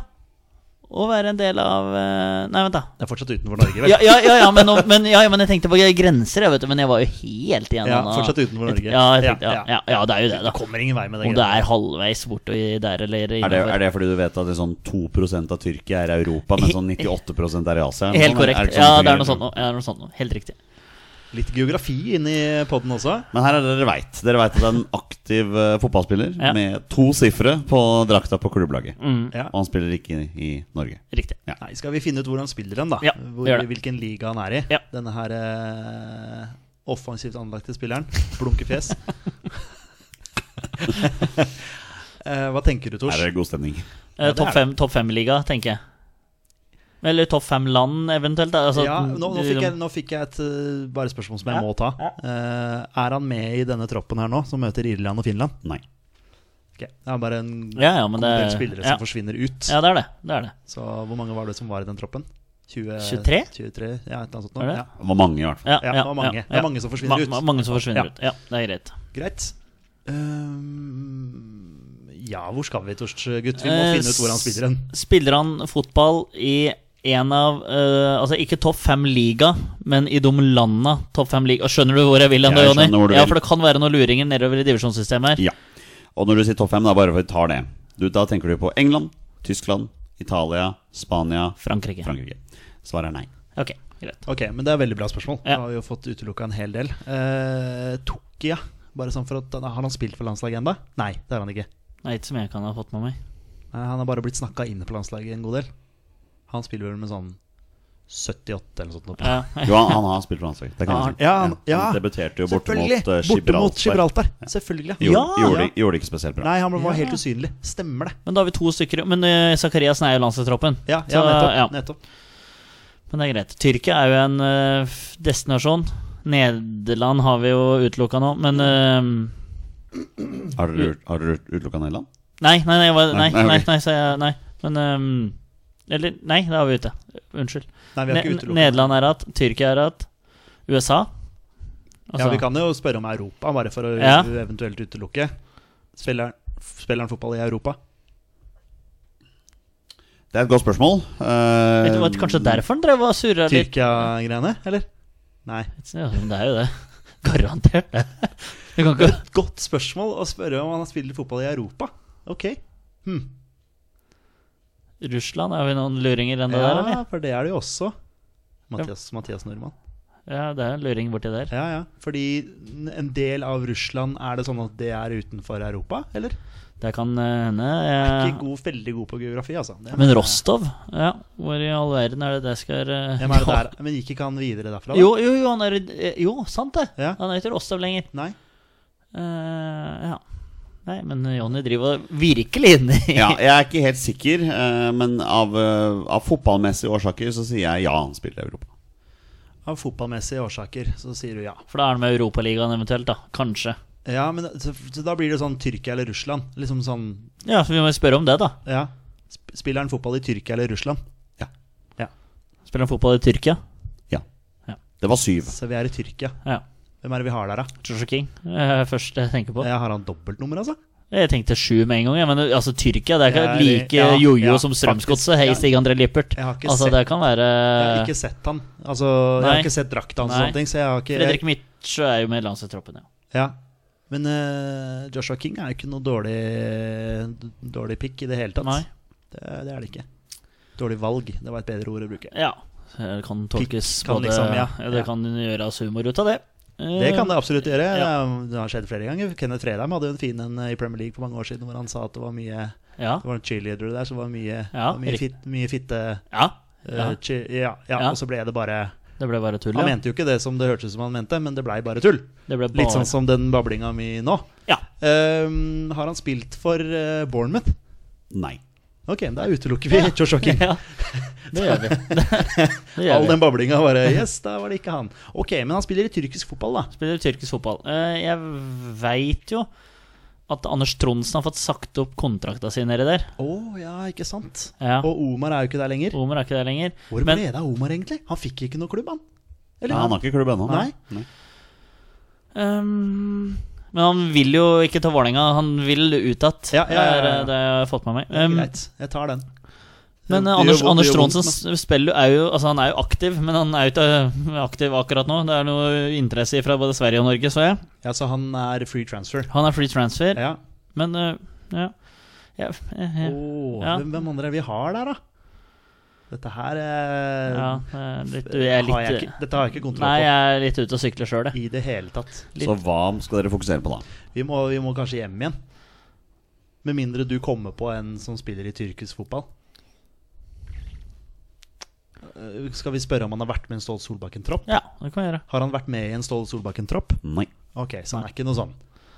å være en del av eh, Nei, vent, da. Det er fortsatt utenfor Norge, vel? Ja, ja, ja, ja, men, nå- men, ja, ja, men jeg tenkte på grenser, jeg, vet du. Men jeg var jo helt igjen Ja, da. fortsatt utenfor Norge. Ja, jeg tenkte, ja, Ja, ja, ja, det er jo det, Det da. kommer ingen vei med det. Om det er halvveis bort og i- der eller Er det, innenfor. er det fordi du vet at det er sånn 2 av Tyrkia er i Europa, men sånn 98 er i Asia? Helt Sånn, korrekt. ikke ja, det det er noe fungerer? sånt noe. Ja, det er noe sånt noe. Helt riktig. Litt geografi inni poden også. Men her er det dere veit. Dere veit at det er en aktiv eh, fotballspiller Ja. Mm. med to sifre på drakta på klubblaget. Ja. Og han spiller ikke i, i Norge. Riktig. Ja. Nei, skal vi finne ut hvor han spiller hen, da? Ja, hvor, gjør det. hvilken liga han er i? Ja. Denne her eh, offensivt anlagte spilleren. Blunkefjes. Eh, hva tenker du, Tors? Her er det god stemning. Eh, det er topp det. fem, topp fem-liga, tenker jeg. Eller topp fem-land, eventuelt. da. Altså, ja, nå, nå, fikk jeg, nå fikk jeg et eh, bare spørsmål som jeg må ta. Eh, er han med i denne troppen her nå, som møter Irland og Finland? Nei. Ok, Det er bare en Ja, ja, men det del spillere ja. som forsvinner ut. ja, det er det. det, er det. Så hvor mange var det som var i den troppen? 20, 23? 23 ja, et eller annet sånt. nå. Var det? Ja. Det var mange, i hvert fall. Ja, Ja, ja, det var mange. ja, Det er ja. mange som forsvinner Ma- ut. ma- mange som forsvinner Ja. ut. Ja, det er greit. Greit. Ehm, ja, hvor skal vi, Torst, gutt? Vi må Eh, finne ut hvor han spiller hen. Spiller han fotball i en av eh, Altså ikke topp fem-liga, men i de landa topp fem-liga. Skjønner du hvor jeg vil hen, Jeg da, Jonny? skjønner hvor du Ja, vil. for det kan være noen luringer nedover i divisjonssystemet her. Ja. Og når du sier topp fem, da bare for vi tar det. Du, da tenker du på England, Tyskland, Italia, Spania, Frankrike. Frankrike. Svaret er nei. Ok, greit. Ok, men det er veldig bra spørsmål. Ja. Da har vi jo fått utelukka en hel del. Uh, Tokia, bare sånn for at Har han spilt for landslaget ennå? Nei, det har han ikke. Nei, ikke som jeg kan ha fått med meg. Nei, han har bare blitt snakka inn på landslaget en god del. Han spiller vel med sånn 78 eller noe sånt. nå på- Ja. Jo, han, han har spilt på landslaget. Det kan Ja, jeg si. han- ja, han- ja. debuterte jo borte mot Selvfølgelig! eh, Borte mot Gibraltar. Gibraltar. Selvfølgelig. Gjorde, Ja! gjorde, det- gjorde det ikke spesielt bra. Nei, han var helt usynlig. Stemmer det. Men da har vi to stykker Men eh, Zakariassen er jo landslagstroppen. Ja, Så, ja, nettopp, ja. nettopp. Men det er greit. Tyrkia er jo en eh, f- destinasjon. Nederland har vi jo utelukka nå, men eh, Har dere ut- har dere utelukka Nederland? Nei, nei, nei, hva- nei, Nei, nei, nei, nei, ok. sa jeg, nei. Men ehm, Eller, nei, da er vi ute. Unnskyld. Nei, vi har ikke Ne utelukket Nederland er igjen, Tyrkia er igjen, USA Ja, Altså, Vi kan jo spørre om Europa, bare for å Ja. eventuelt utelukke. Spiller han- spiller han fotball i Europa? Det er et godt spørsmål. vet du hva, Eh, Kanskje derfor han drev og surra litt? Tyrkia-greiene, eller? Nei. Ja, men det er jo det. Garantert det. Du kan ikke Et godt spørsmål å spørre om han har spilt fotball i Europa. Ok. Russland, er vi noen luringer ennå der, eller? Ja, for det er det jo også. Mathias, Mathias Nordmann. Ja, det er en luring borti der. Ja, ja. Fordi en del av Russland, er det sånn at det er utenfor Europa, eller? Det kan eh, hende. Ikke eh, god, veldig god på geografi, altså. Det- Men Rostov? Ja, hvor i all verden er det det skal eh, Ja, men, er det der, men gikk ikke han videre derfra? da? Jo, jo, jo, han er, i- eh, jo, sant det. Ja. Han er ikke Rostov lenger. Nei? Eh, ja. Nei, men Jonny driver virkelig inn i ja, jeg er ikke helt sikker, eh, men av, eh, av fotballmessige årsaker så sier jeg ja, han spiller i Europa. Av fotballmessige årsaker så sier du ja. For da er han med i Europaligaen eventuelt, da. Kanskje. Ja, men så, så da blir det sånn Tyrkia eller Russland. Liksom sånn Ja, så vi må jo spørre om det, da. Ja. Sp- Spiller han fotball i Tyrkia eller Russland? Spiller han fotball i Tyrkia? Ja. Ja. Det var syv. Så vi er i Tyrkia. Ja. Hvem er det vi har der, da? Joshua King eh, først jeg tenker på. Jeg har han dobbeltnummer, altså? Jeg tenkte sju med en gang, jeg, men altså Tyrkia det er ikke Ja, det- like ja, jojo ja, som faktisk. Strømsgodset. Hei, Ja. Stig André Lippert. Jeg har ikke Altså, sett- det kan være Jeg har ikke sett han. Altså, jeg Nei. har ikke sett drakta hans og Nei. sånne ting, så jeg har ikke Fredrik Mitsch er jo med i landslagstroppen, ja. Ja. Men eh, Joshua King er jo ikke noe dårlig, d- dårlig pick i det hele tatt. Nei. Det, det er det ikke. Dårlig valg, det var et bedre ord å bruke. ja. Det kan tolkes kan både liksom, ja. Det Ja. kan gjøres humor ut av det. Eh, Det kan det absolutt gjøre. Det Ja. er- Det har skjedd flere ganger. Kenneth Fredheim hadde jo en fin en eh, i Premier League for mange år siden hvor han sa at det var mye Ja. Det var en cheerleader der, så det var mye, Ja, det var mye, riktig. fit, mye fitte ja. eh, ja. cheer- ja, ja, Ja. og så ble det bare Det ble bare tull, Han ja. mente jo ikke det som det hørtes ut som han mente, men det blei bare tull. Det ble bare... Litt sånn som den bablinga mi nå. Ja. Ehm, har han spilt for eh, Bournemouth? Nei. Ok, men da utelukker vi Joshua King. Ja, det gjør vi. Det, det gjør All vi. den bablinga bare Yes, da var det ikke han. Ok, men han spiller i tyrkisk fotball, da. Spiller tyrkisk fotball. Eh, Jeg veit jo at Anders Tronsen har fått sagt opp kontrakta si nedi der. Å ja, ikke sant? Ja. Og Omar er jo ikke der lenger. Omar er ikke der lenger. Hvor ble Men det av Omar, egentlig? Han fikk ikke noe klubb, han. Eller? Nei, han har ikke klubb ennå. Nei. ehm, men han vil jo ikke ta Vålerenga. Han vil ut att. Ja, ja, ja, ja. Det er, eh, Det har jeg fått med meg. Ehm, Greit, jeg tar den. Men eh, Det gjør Anders, vondt- Anders det gjør vondt, Tronsen s- spiller, er jo, altså han er jo aktiv, men han er jo ikke eh, aktiv akkurat nå. Det er noe interesse fra både Sverige og Norge, så jeg. Ja, så han er free transfer. Han er free transfer, Ja. men eh, ja. Ja, eh, eh, Åh, Ja. Hvem, hvem andre er vi har der, da? Dette her eh, ja, eh, litt, jeg er har jeg litt eh, ikke, Dette har jeg ikke kontroll Nei, jeg er litt ute og sykler sjøl, på jeg. i det hele tatt. Litt. Så hva skal dere fokusere på da? Vi må, vi må kanskje hjem igjen. Med mindre du kommer på en som spiller i tyrkisk fotball. Eh, Skal vi spørre om han har vært med i en Ståle Solbakken-tropp? Ja, det kan vi gjøre. Har han vært med i en Ståle Solbakken-tropp? Nei. Ok, så han er ikke noe sånn.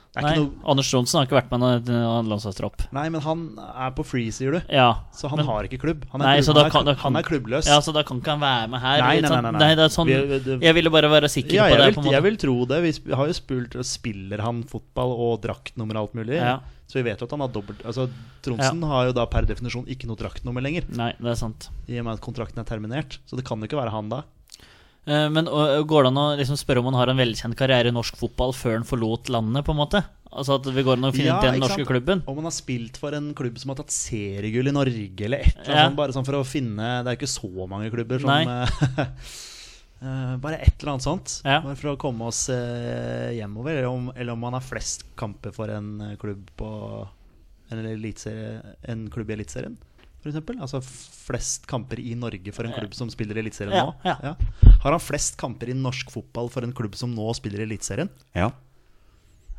Det er Nei, ikke noe, Anders Tronsen har ikke vært med i en- en landslagstropp. nei, men han er på free, sier du. Ja, Så han men- har ikke klubb. Han er, Nei, klubb, så da han er, kan- da han er klubbløs. Ja, så da kan ikke han være med her. Nei, litt nei, sånn- nei, nei, nei. det er sånn, Vi- det- jeg ville bare være sikker Ja, på jeg, det. på en vil, måte. jeg vil tro det. Vi sp- har jo spurt Spiller han fotball og draktnummer og alt mulig? Ja. Så vi vet jo at han har dobbelt Altså, Tronsen har jo da per definisjon ikke noe draktnummer lenger, Nei, det er sant. i og med at kontrakten er terminert. Så det kan jo ikke være han da. Eh, Men og, og går det an å liksom spørre om han har en velkjent karriere i norsk fotball før han forlot landet, på en måte? Altså at vi går an å finne Ja, ut den ikke norske sant? klubben? Om han har spilt for en klubb som har tatt seriegull i Norge, eller et eller annet Ja. sånt, bare sånn for å finne Det er jo ikke så mange klubber som Nei. eh, eh, Bare et eller annet sånt. Ja. Bare for å komme oss eh, hjemover. Eller om, eller om han har flest kamper for en eh, klubb på en, elitserie, en klubb i Eliteserien, f.eks. Altså flest kamper i Norge for en klubb som spiller i Eliteserien Ja, nå. ja. Har han flest kamper i norsk fotball for en klubb som nå spiller i Eliteserien? Ja.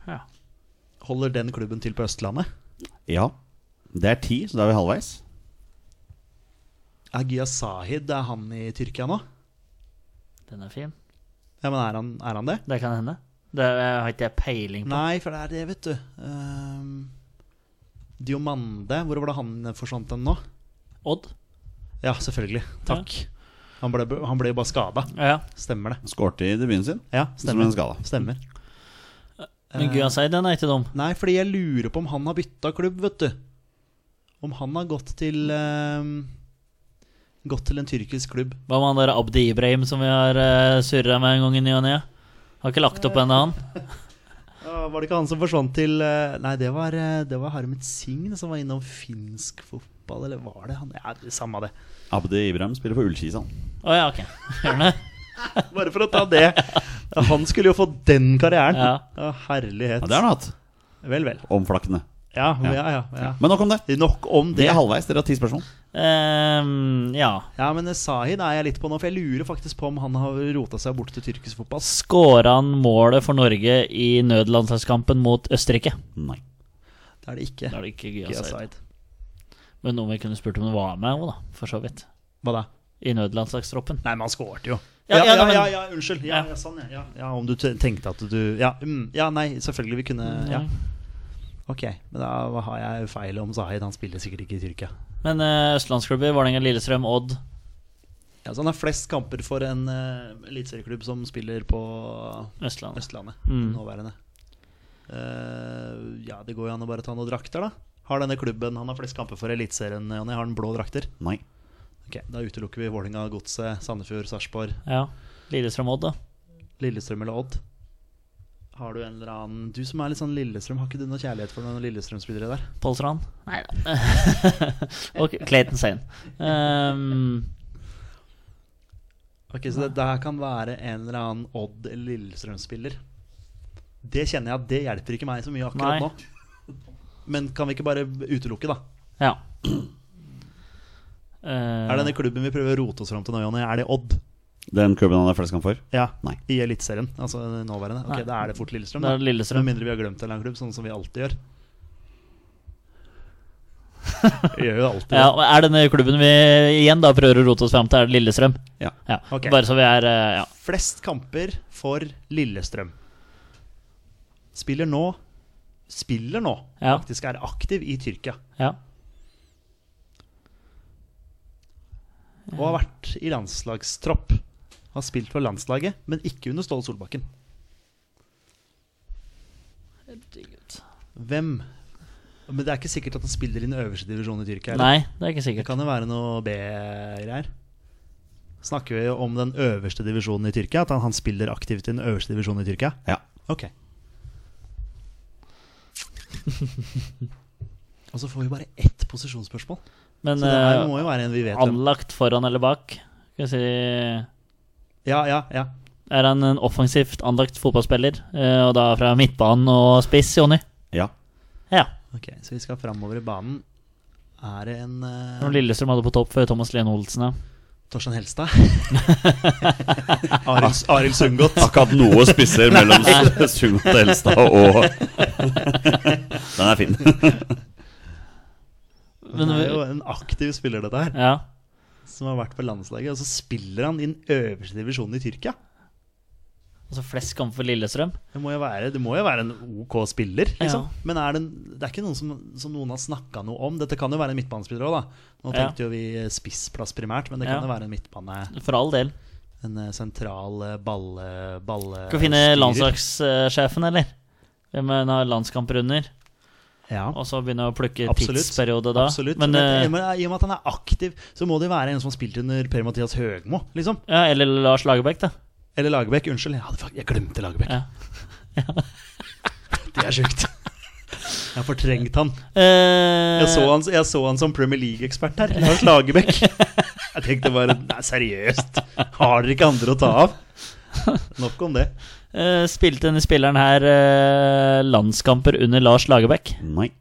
Ja. Holder den klubben til på Østlandet? Ja. Det er ti, så da er vi halvveis. Er Giyas Sahid er han i Tyrkia nå? Den er fin. Ja, men er han, er han det? Det kan hende. Det er- har ikke jeg peiling på. Nei, for det er det, vet du. Ehm, Diomande, hvor var det han forsvant hen nå? Odd? Ja, selvfølgelig. Takk. Han ble han ble jo bare skada. Ja. Stemmer det. Skårte i debuten sin. Ja, Som en stemmer. skala. stemmer. Eh. Men Guasai, den er ikke dum. Nei, fordi jeg lurer på om han har bytta klubb, vet du. Om han har gått til ehm, Gått til en tyrkisk klubb. Hva med han der Abdi Ibrahim som vi har uh, surra med en gang i ny og ne? Har ikke lagt opp ennå, han. Ja, var det ikke han som forsvant til eh, Nei, det var, eh, det var Harmet Singh som var innom finsk fotball, eller var det han? Ja, det er samme det. Abdi Ibrahim spiller for Ullkisa. han. Å ja, ok. Gjør han det? Bare for å ta det. Ja, Han skulle jo få den karrieren. Ja. Å, herlighet. Ja, det har han hatt. Vel, vel. Omflakkende. Ja, ja, ja, ja. Men nok om det. Nok om Vi det. er halvveis. Dere har ti spørsmål. Ehm, ja. Ja, men Sahid er jeg litt på nå, for jeg lurer faktisk på om han har rota seg bort til tyrkisk fotball. Skåra han målet for Norge i nødlandslagskampen mot Østerrike? Nei. Det er det ikke. Da er det ikke Gia Guasai. Sahid. Men noen vi kunne spurt om det var med òg, da. For så vidt. Hva da? I nødlandslagstroppen. Nei, men han skårte jo. Ja, Ja, ja, ja, nei, men- ja, ja, unnskyld. Ja, Ja. ja, sånn, ja. ja. ja om du te- tenkte at du Ja, mm, ja nei, selvfølgelig. Vi kunne Ja. Ok, men da har jeg feil om Sahid. Han spiller sikkert ikke i Tyrkia. Men eh, østlandsklubber, Vålerenga, Lillestrøm, Odd. Ja, så han har flest kamper for en uh, eliteserieklubb som spiller på Østlandet. Østlandet. Mm. Nåværende. Eh, ja, det går jo an å bare ta noen drakter, da. Har denne klubben han har flest kamper for i Eliteserien, Jonny, har den blå drakter? Nei. Ok, Da utelukker vi Vålinga, Godset, Sandefjord, Sarpsborg, Ja. Lillestrøm, Odd, da. Lillestrøm eller Odd. Har du en eller annen Du som er litt sånn Lillestrøm, har ikke du noe kjærlighet for noen Lillestrøm-spillere der? Pål Strand? Nei da. ok, Clayton Sane. Ehm, Ok, Så det der kan være en eller annen Odd- eller Lillestrøm-spiller. Det kjenner jeg at det hjelper ikke meg så mye akkurat Nei. nå. Men kan vi ikke bare utelukke, da? ja. Eh, Er denne klubben vi prøver å rote oss fram til nå, Jonny, er det Odd? Den klubben han er flest kamp for? Ja, Nei. I Eliteserien, altså den nåværende. Ok, Nei. Da er det fort Lillestrøm. Da Da. er det Lillestrøm. Med mindre vi har glemt en eller annen klubb, sånn som vi alltid gjør. Vi gjør jo alltid ja, det. og er denne klubben vi igjen da prøver å rote oss fram til, er det Lillestrøm? Ja. Ja, Ok. Bare så vi er eh, ja. Flest kamper for Lillestrøm. Spiller nå Spiller nå, Ja. faktisk er aktiv i Tyrkia. ja. Og har vært i landslagstropp. Har spilt for landslaget, men ikke under Ståle Solbakken. Hvem Men det er ikke sikkert at han spiller i den øverste divisjonen i Tyrkia. eller? Nei, det er ikke Det sikkert. kan jo være noe B-greier. Snakker vi om den øverste divisjonen i Tyrkia? At han, han spiller aktivt i den øverste divisjonen i Tyrkia? Ja. Ok. Og så får vi bare ett posisjonsspørsmål. Men Så det her eh, må jo være en vi vet om. anlagt foran eller bak Skal vi si Er Ja, ja, ja. han en offensivt anlagt fotballspiller? eh, Og da fra midtbanen og spiss, Jonny? Ja. Ja. Ok, Så vi skal framover i banen. Er det en eh, Når Lillestrøm hadde på topp før Thomas Lene Olsen, ja. Torstein Helstad? Arild Arild Sundgodt. Akkurat noe spisser mellom Sungot og Elstad og Den er fin. Men, Det er jo en aktiv spiller, dette her. ja. Som har vært på landslaget. Og så spiller han i den øverste divisjonen i Tyrkia. Altså flest kamper for Lillestrøm. Det må jo være, det må jo være en OK spiller, liksom. Ja. Men er det, en, det er ikke noen som, som noen har snakka noe om. Dette kan jo være en midtbanespiller òg, da. Nå Ja. tenkte jo vi spissplass primært, men det Ja. kan jo være en midtbane. For all del. En eh, sentral eh, balle... balle Skal vi finne styrer. landslagssjefen, eller? Hvem er- har landskamper under? Ja. Og så begynne å plukke Absolutt. tidsperiode da. Absolutt. Men, Men, eh, men I og med at han er aktiv, så må det jo være en som har spilt under Per-Mathias Høgmo, liksom. ja, eller Lars Lagerbäck, da. Eller Lagerbäck. Unnskyld, jeg, hadde, fak- jeg glemte Lagerbäck. Ja. Det er sjukt. Jeg har fortrengt han. Eh, Jeg så han, jeg så han som Premier League-ekspert her. Lars Lagerbäck. Jeg tenkte bare Nei, seriøst. Har dere ikke andre å ta av? Nok om det. eh, spilte denne spilleren her eh, landskamper under Lars Lagerbäck? Nei.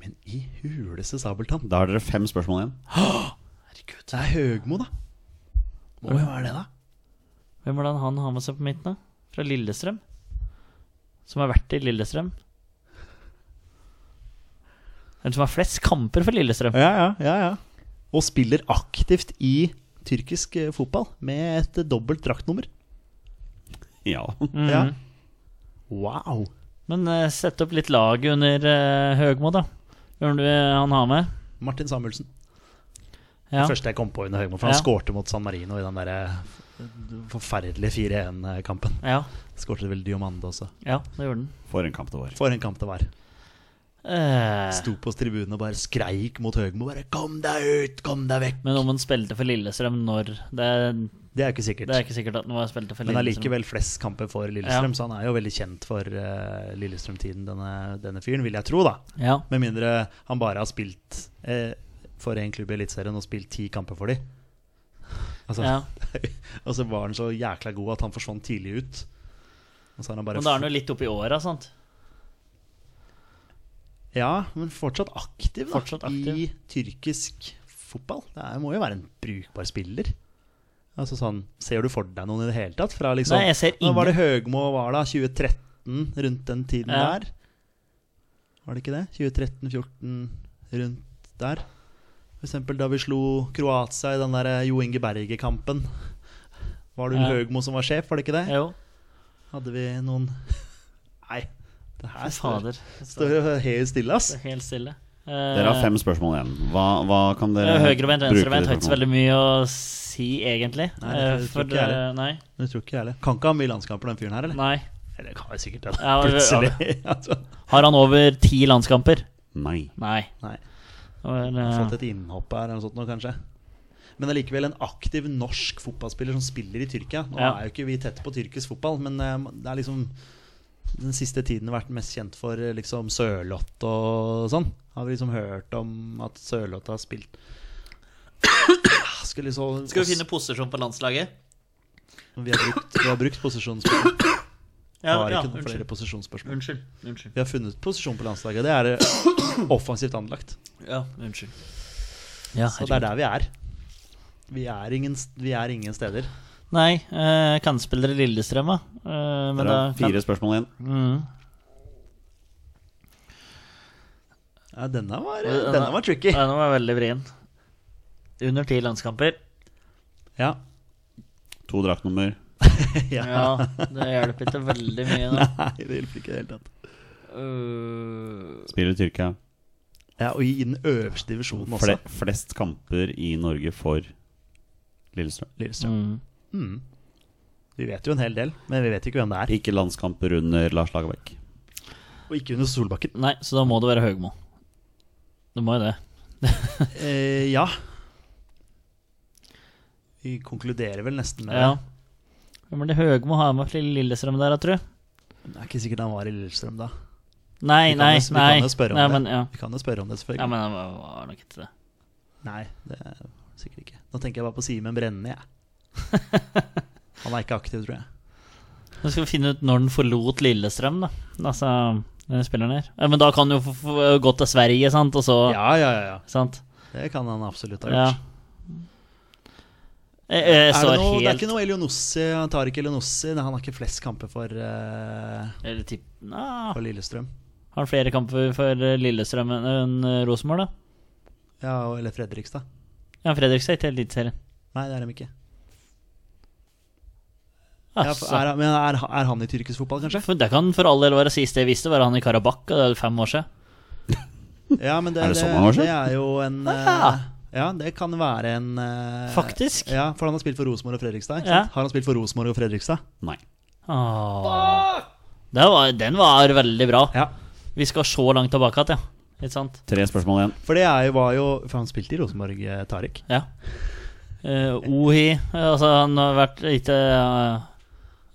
Men i huleste Sabeltann. Da har dere fem spørsmål igjen. Herregud, det er Høgmo, da. Må jo være det, da. Hvem var det han har med seg på midten, da? Fra Lillestrøm? Som har vært i Lillestrøm? Eller som har flest kamper for Lillestrøm? Ja, ja, ja, ja. Og spiller aktivt i tyrkisk eh, fotball med et eh, dobbelt draktnummer. Ja. Mhm. Ja. Wow. Men eh, sett opp litt laget under eh, Høgmo, da. Hvem du, han har med? Martin Samuelsen. Ja. Det første jeg kom på under Høgmo, for han Ja. skårte mot San Marino i den der eh, forferdelige 4-1-kampen. ja. Skårte vel Diomande også. Ja, det gjorde den. For en kamp det var. For en kamp det var. Eh, Sto på tribunen og bare skreik mot Høgmo. Bare 'kom deg ut, kom deg vekk'. men om han spilte for Lillestrøm når Det, Det er jo ikke sikkert. det er ikke sikkert at han var spilte for men Lillestrøm. allikevel flest kamper for Lillestrøm, Ja. så han er jo veldig kjent for eh, Lillestrøm-tiden, denne, denne fyren, vil jeg tro, da. Ja. Med mindre han bare har spilt eh, for én klubb i Eliteserien og spilt ti kamper for de. Altså, ja. og så var han så jækla god at han forsvant tidlig ut. Og så har han bare Men da er han jo litt oppi åra, sant? Ja, men fortsatt aktiv, da. Fortsatt aktiv. I tyrkisk fotball. Det er, må jo være en brukbar spiller. Altså sånn, Ser du for deg noen i det hele tatt? Fra liksom, Nei, jeg ser Nå var det Høgmo var da, 2013, rundt den tiden Ja. der. Var det ikke det? 2013-14, rundt der. For eksempel da vi slo Kroatia i den der eh, Jo Inge Berge-kampen. Var det Ja. Høgmo som var sjef, var det ikke det? Jo. Hadde vi noen Nei, det Fy her står, fader. står jo helt stille, ass. Det er Helt stille. Eh, Dere har fem spørsmål igjen. Hva, hva kan dere Høyrebeint, bruke venstrebeint de har ikke så spørsmålene? veldig mye å si, egentlig. Nei, det tror Eh, jeg for, ikke jeg heller. eh, nei. Det tror ikke jeg heller. Kan ikke ha mye landskamper, den fyren her, eller? nei. Eller kan jeg sikkert det, Ja, da, men- plutselig. altså, Har han over ti landskamper? Nei. Nei. nei. Jeg Vel, har eh, Fått et innhopp her eller noe sånt nå, kanskje. Men allikevel en aktiv norsk fotballspiller som spiller i Tyrkia. Nå Ja. er jo ikke vi tett på tyrkisk fotball, men eh, det er liksom den siste tiden vært mest kjent for eh, liksom Sørloth og sånn. Har vi liksom hørt om at Sørloth har spilt Skulle så, Skal vi finne posisjon på landslaget? Vi har brukt, vi har brukt posisjonsspørsmål. Ja, har ja, ikke noen flere unnskyld. posisjonsspørsmål. Unnskyld. unnskyld. Vi har funnet posisjon på landslaget. Det er eh, offensivt anlagt. Ja, unnskyld. Ja, Så det er der vi er. Vi er ingen, vi er ingen steder. Nei, eh, kan spille dere Lillestrøm, da. Eh, men Dere da har fire spørsmål igjen. Kan, mm. Ja, denne var, eh, Ja, denne var tricky. Ja, den var veldig vrien. Under ti landskamper. Ja. To draktnummer. ja. Ja, det hjelper ikke veldig mye. Da. Nei, det hjelper ikke i det hele tatt. Øh, Spiller i Tyrkia. Ja, og i den øverste divisjonen også. Fle flest kamper i Norge for Lillestrøm. Lillestrøm. mm. Mm. Vi vet jo en hel del, men vi vet ikke hvem det er. Ikke landskamper under Lars Lagerbäck. Og ikke under Solbakken. Nei, så da må det være Høgmo. Det må jo det. Eh, ja. Vi konkluderer vel nesten med Ja. Hvem er det Høgmo har med til Lillestrøm der, da, tru? det. Det er ikke sikkert han var i Lillestrøm da. Vi Nei, kan nei, jo- vi nei. kan jo spørre om nei, det. men, ja. Vi kan jo spørre om det, selvfølgelig. ja, men det var nok ikke det. Nei, det er sikkert ikke. Nå tenker jeg bare på Simen Brenne, jeg. Han er ikke aktiv, tror jeg. Nå skal vi finne ut når den forlot Lillestrøm, da. Altså, den spilleren her. Ja, men da kan den jo få- få gå til Sverige, sant, og så Ja, ja, ja. ja. Sant? Det kan han absolutt ha Ja. gjort. Jeg, jeg er så det, noe, det er helt ikke noe Elionossi, han tar ikke Elionossi. Nei, Han har ikke flest kamper for, eh, Eller typ, ah, for Lillestrøm. Har han flere kamper for eh, Lillestrøm enn enn eh, Rosenborg, da? Ja, og- Eller Fredrikstad. Ja, Fredrikstad til Eliteserien. Nei, det er dem ikke. Ja, for, Altså, er, han- men er, er han i tyrkisk fotball, kanskje? for det kan for all del være sist jeg visste, var han i Karabakh, og det er fem år siden. Ja, men det, Er det det, sånn han har det skjedd? er jo en Ah. eh, Ja, det kan være en eh, Faktisk. Ja, for han har spilt for Rosenborg og Fredrikstad. Ikke Ja. sant? Har han spilt for Rosenborg og Fredrikstad? Nei. Åh. Det var, den var veldig bra. Ja. Vi skal så langt tilbake igjen, ja. Ikke sant? Tre spørsmål igjen. For det er jo, var jo For han spilte i Rosenborg, eh, Tariq. Ja. Eh, Ohi eh, Altså, han har vært ikke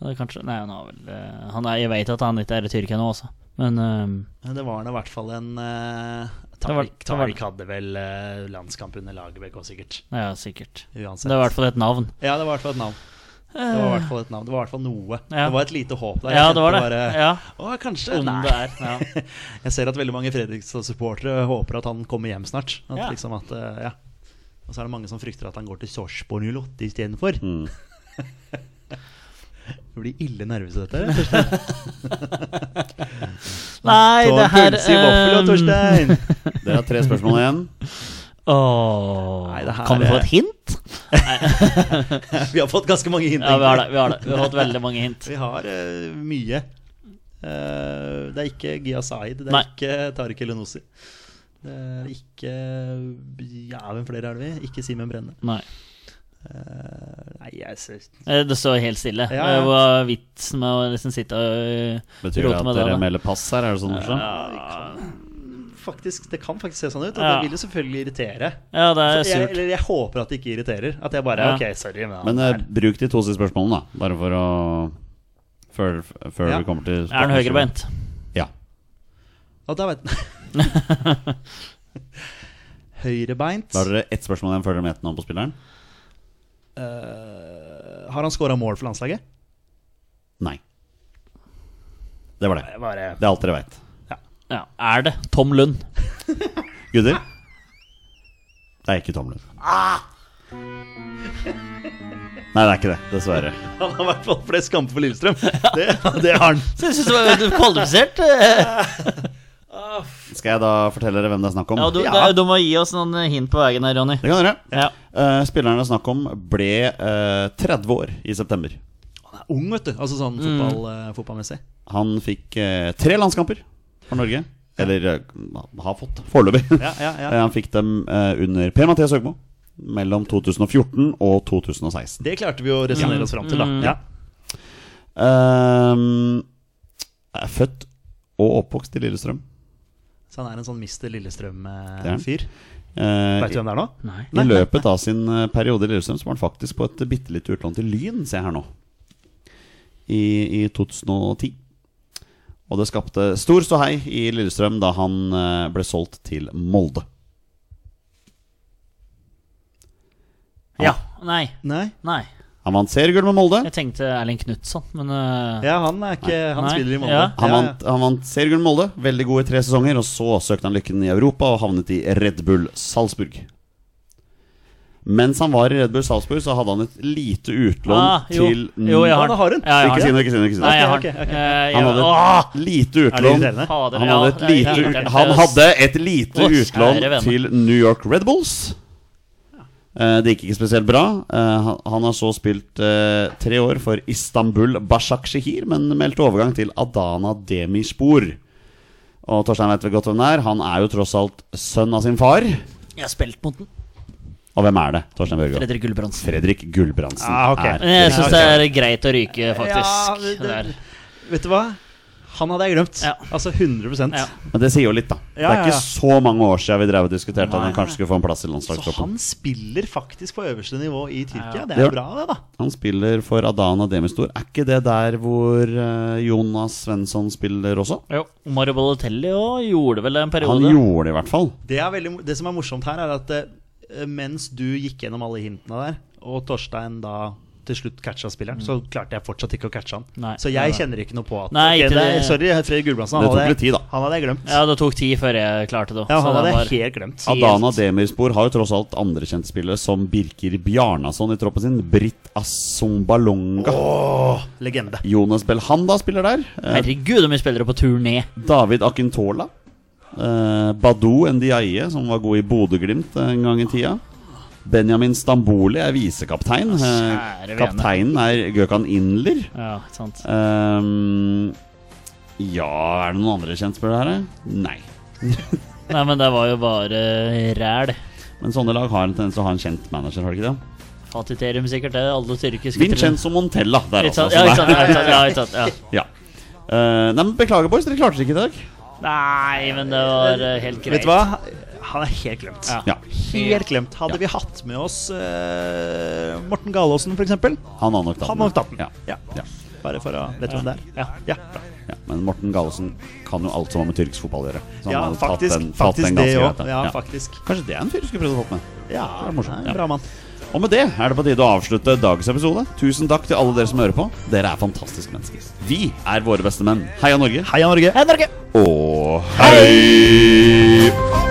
eh, Kanskje Nei, han har vel eh, han er, Jeg vet at han ikke er i Tyrkia nå, også, men eh, Men Det var nå i hvert fall en uh, Det var- Tariq, det var- Tariq hadde vel eh, landskamp under Lagerbäck òg, sikkert. Ja, sikkert. Uansett. Det er i hvert fall et navn. Ja, det var i hvert fall et navn. Det var i hvert fall et navn. Det var i hvert fall noe. Ja. Det var et lite håp der. Jeg Ja, kjente det var det. bare, Ja, Å, kanskje. om Nei. det er. Ja. Jeg ser at veldig mange Fredrikstad-supportere håper at han kommer hjem snart. At, Ja. liksom at, eh, ja. Og så er det mange som frykter at han går til Sarpsborg 08 istedenfor. Mm. Du blir ille nervøs av dette. Nei, Så det her puls i vaffel og ehm, Torstein! Dere har tre spørsmål igjen. eh, åh, Nei, det her Kan vi er- få et hint? Vi har fått ganske mange hint. Ja, vi har det. Vi har, det. Vi har fått veldig mange hint. Vi har eh, mye. Eh, det er ikke Gia Said, det er Nei. ikke Tariq Elenossi. Det er ikke Ja, hvem flere er det vi? Ikke Simen Brenne. Nei. Eh, nei, jeg ser Eh, Det står helt stille. Ja, ja. Det var vitsen med å liksom sitte og Betyr det Roter at med det, dere da. melder pass her? Er det sånn? Torstein? faktisk, Det kan faktisk se sånn ut. Og Ja. det vil jo selvfølgelig irritere. Ja, det er Så jeg, surt. eller jeg håper at det ikke irriterer. At jeg bare Ja. Ok, sorry. Men, Men eh, bruk de to siste spørsmålene, da. Bare for å Før, før Ja. vi kommer til Er han høyrebeint? Ja. Og da vet Høyrebeint. Da har dere ett spørsmål igjen før dere meter navn på spilleren. Eh, har han scora mål for landslaget? Nei. Det var det. Bare Det er alt dere veit. Ja, er det Tom Lund? Gutter? Det er ikke Tom Lund. Ah! Nei, det er ikke det. Dessverre. Han har i hvert fall flest kamper for Lillestrøm. Det, det har han. Så jeg syns du var kvalifisert. eh. Skal jeg da fortelle dere hvem det er snakk om? Ja, du, Ja. du må gi oss noen eh, hint på veien her, Ronny. Det kan dere. Ja. Eh, spilleren det er snakk om, ble eh, 30 år i september. Han er ung, vet du. Altså sånn Mm. fotball, eh, fotballmessig. Han fikk eh, tre landskamper for Norge. Eller eh, har fått, foreløpig. Ja, ja, ja. Eh, Han fikk dem eh, under Per-Mathias Høgmo mellom 2014 og 2016. Det klarte vi å resonnere oss fram til, da. Mm. Ja. Ehm, er født og oppvokst i Lillestrøm. Så han er en sånn Mister Det er han. Lillestrøm-fyr. Eh, Vet du hvem det er nå? Nei. I løpet av sin eh, periode i Lillestrøm så var han faktisk på et bitte lite utlån til Lyn, ser jeg her nå. I, I 2010. Og det skapte stor ståhei i Lillestrøm da han eh, ble solgt til Molde. Ja. Nei. Nei. Nei. Han vant seriegull med Molde. Jeg tenkte Erling Knutson, men eh, Ja, han er ikke Han Nei. spiller i Molde. Ja. Han Ja, ja. vant, han vant seriegull med Molde, veldig god i tre sesonger, og så søkte han lykken i Europa og havnet i Red Bull Salzburg. Mens han var i Red Bull Salzburg, så hadde han et lite utlån Ah, jo. til Jo, jeg har Ja, den. da har hun. Ja, jeg har Ikke si den. noe, ikke si noe. Ikke si Nei, noe. jeg har Ok, den. ok, ok. Eh, Han jeg- hadde Åh! et lite Er det utlån irriterende? Fader, han ja, hadde, et det er lite, irriterende. ut- han hadde et lite Å, kjære utlån vene. til New York Red Bulls. Eh, Det gikk ikke spesielt bra. Eh, Han han har så spilt eh, tre år for Istanbul Başakşehir, men meldte overgang til Adana Demirspor. Og Torstein vet vel godt hvem det er. Han er jo tross alt sønn av sin far. Jeg har spilt mot den. Og hvem er det? Torstein Børgo. Fredrik Gulbrandsen. Fredrik Gulbrandsen. Ah, ok. Men jeg er syns det er greit å ryke, Ja, faktisk. det- Der. Vet du hva? Han hadde jeg glemt. Ja. Altså 100 Ja. Men det sier jo litt, da. det Ja, ja, er ja. ikke så mange år siden vi drev og diskuterte at Nei. han kanskje skulle få en plass i Så landslagstroppen. han spiller faktisk på øverste nivå i Tyrkia. Ja. Det Det er gjør- bra, det, da. Han spiller for Adana Demistor. Er ikke det der hvor eh, Jonas Svensson spiller også? Jo, Mario Balotelli også gjorde vel det en Han periode. gjorde det i hvert fall. Det, er veldig, mo- det som er morsomt her, er at eh, mens du gikk gjennom alle hintene der, og Torstein da til slutt catcha spilleren, så klarte jeg fortsatt ikke å catche han. Nei. så jeg kjenner ikke noe på at Nei, Ok, ikke det er, det. Sorry, Fredrik Gulbrandsen. Det han tok hadde- litt tid, da. Han hadde jeg glemt. Ja, det tok tid før jeg klarte det. Ja, så han det hadde var- jeg helt glemt. Helt- Adana Demirspor har jo tross alt andre kjente spillere, som Birker Bjarnason i troppen sin. Britt Assombalonga. Legende. Jonas Belhanda spiller der. Eh, Herregud, hvor mye spillere på turné! David Akintola. Eh, Badou Ndiaye, som var god i Bodø-Glimt en gang i tida. Benjamin Stamboli er visekaptein. Eh, Kjære vene. kapteinen er Gøkan Inler. Ja, ikke sant. Ehm, ja, er det noen andre kjentspillere her? eh? Nei. Nei, men det var jo bare eh, ræl. Men sånne lag har en tendens til å ha en kjent manager, har de ikke det? Fatiterum sikkert det. Alle tyrkiske Vincenzo Montella der, Ikke sånn, altså. sant? som Ja, ikke er- sant. Ja, ikke sant. Ja, ikke sant. Ja. Ja. Eh, nei, men Beklager, boys. Dere klarte det ikke i dag. Nei, men det var eh, helt greit. Vet du hva? Han er helt glemt. Ja. Ja, Helt glemt. Hadde vi hatt med oss eh, Morten Galaasen, f.eks., Han har nok tatt Han har nok tatt den. Ja. Ja. Ja. bare for å Vet du hvem det er? Ja. Ja, bra. Ja, men Morten Gallesen kan jo alt som har med tyrkisk fotball å gjøre. Så han ja hadde tatt faktisk. den- tatt den Faktisk det ganske greit, òg. da. Ja, Ja. faktisk. Kanskje det er en fyr du skulle prøvd å få med. Ja, det er morsomt. nei, Ja. Bra mann. Og med det er det på tide å avslutte dagens episode. Tusen takk til alle dere som hører på. Dere er fantastiske mennesker. Vi er våre beste menn. Heia Norge. Heia Norge. Hei, Norge! Og hei! Oh,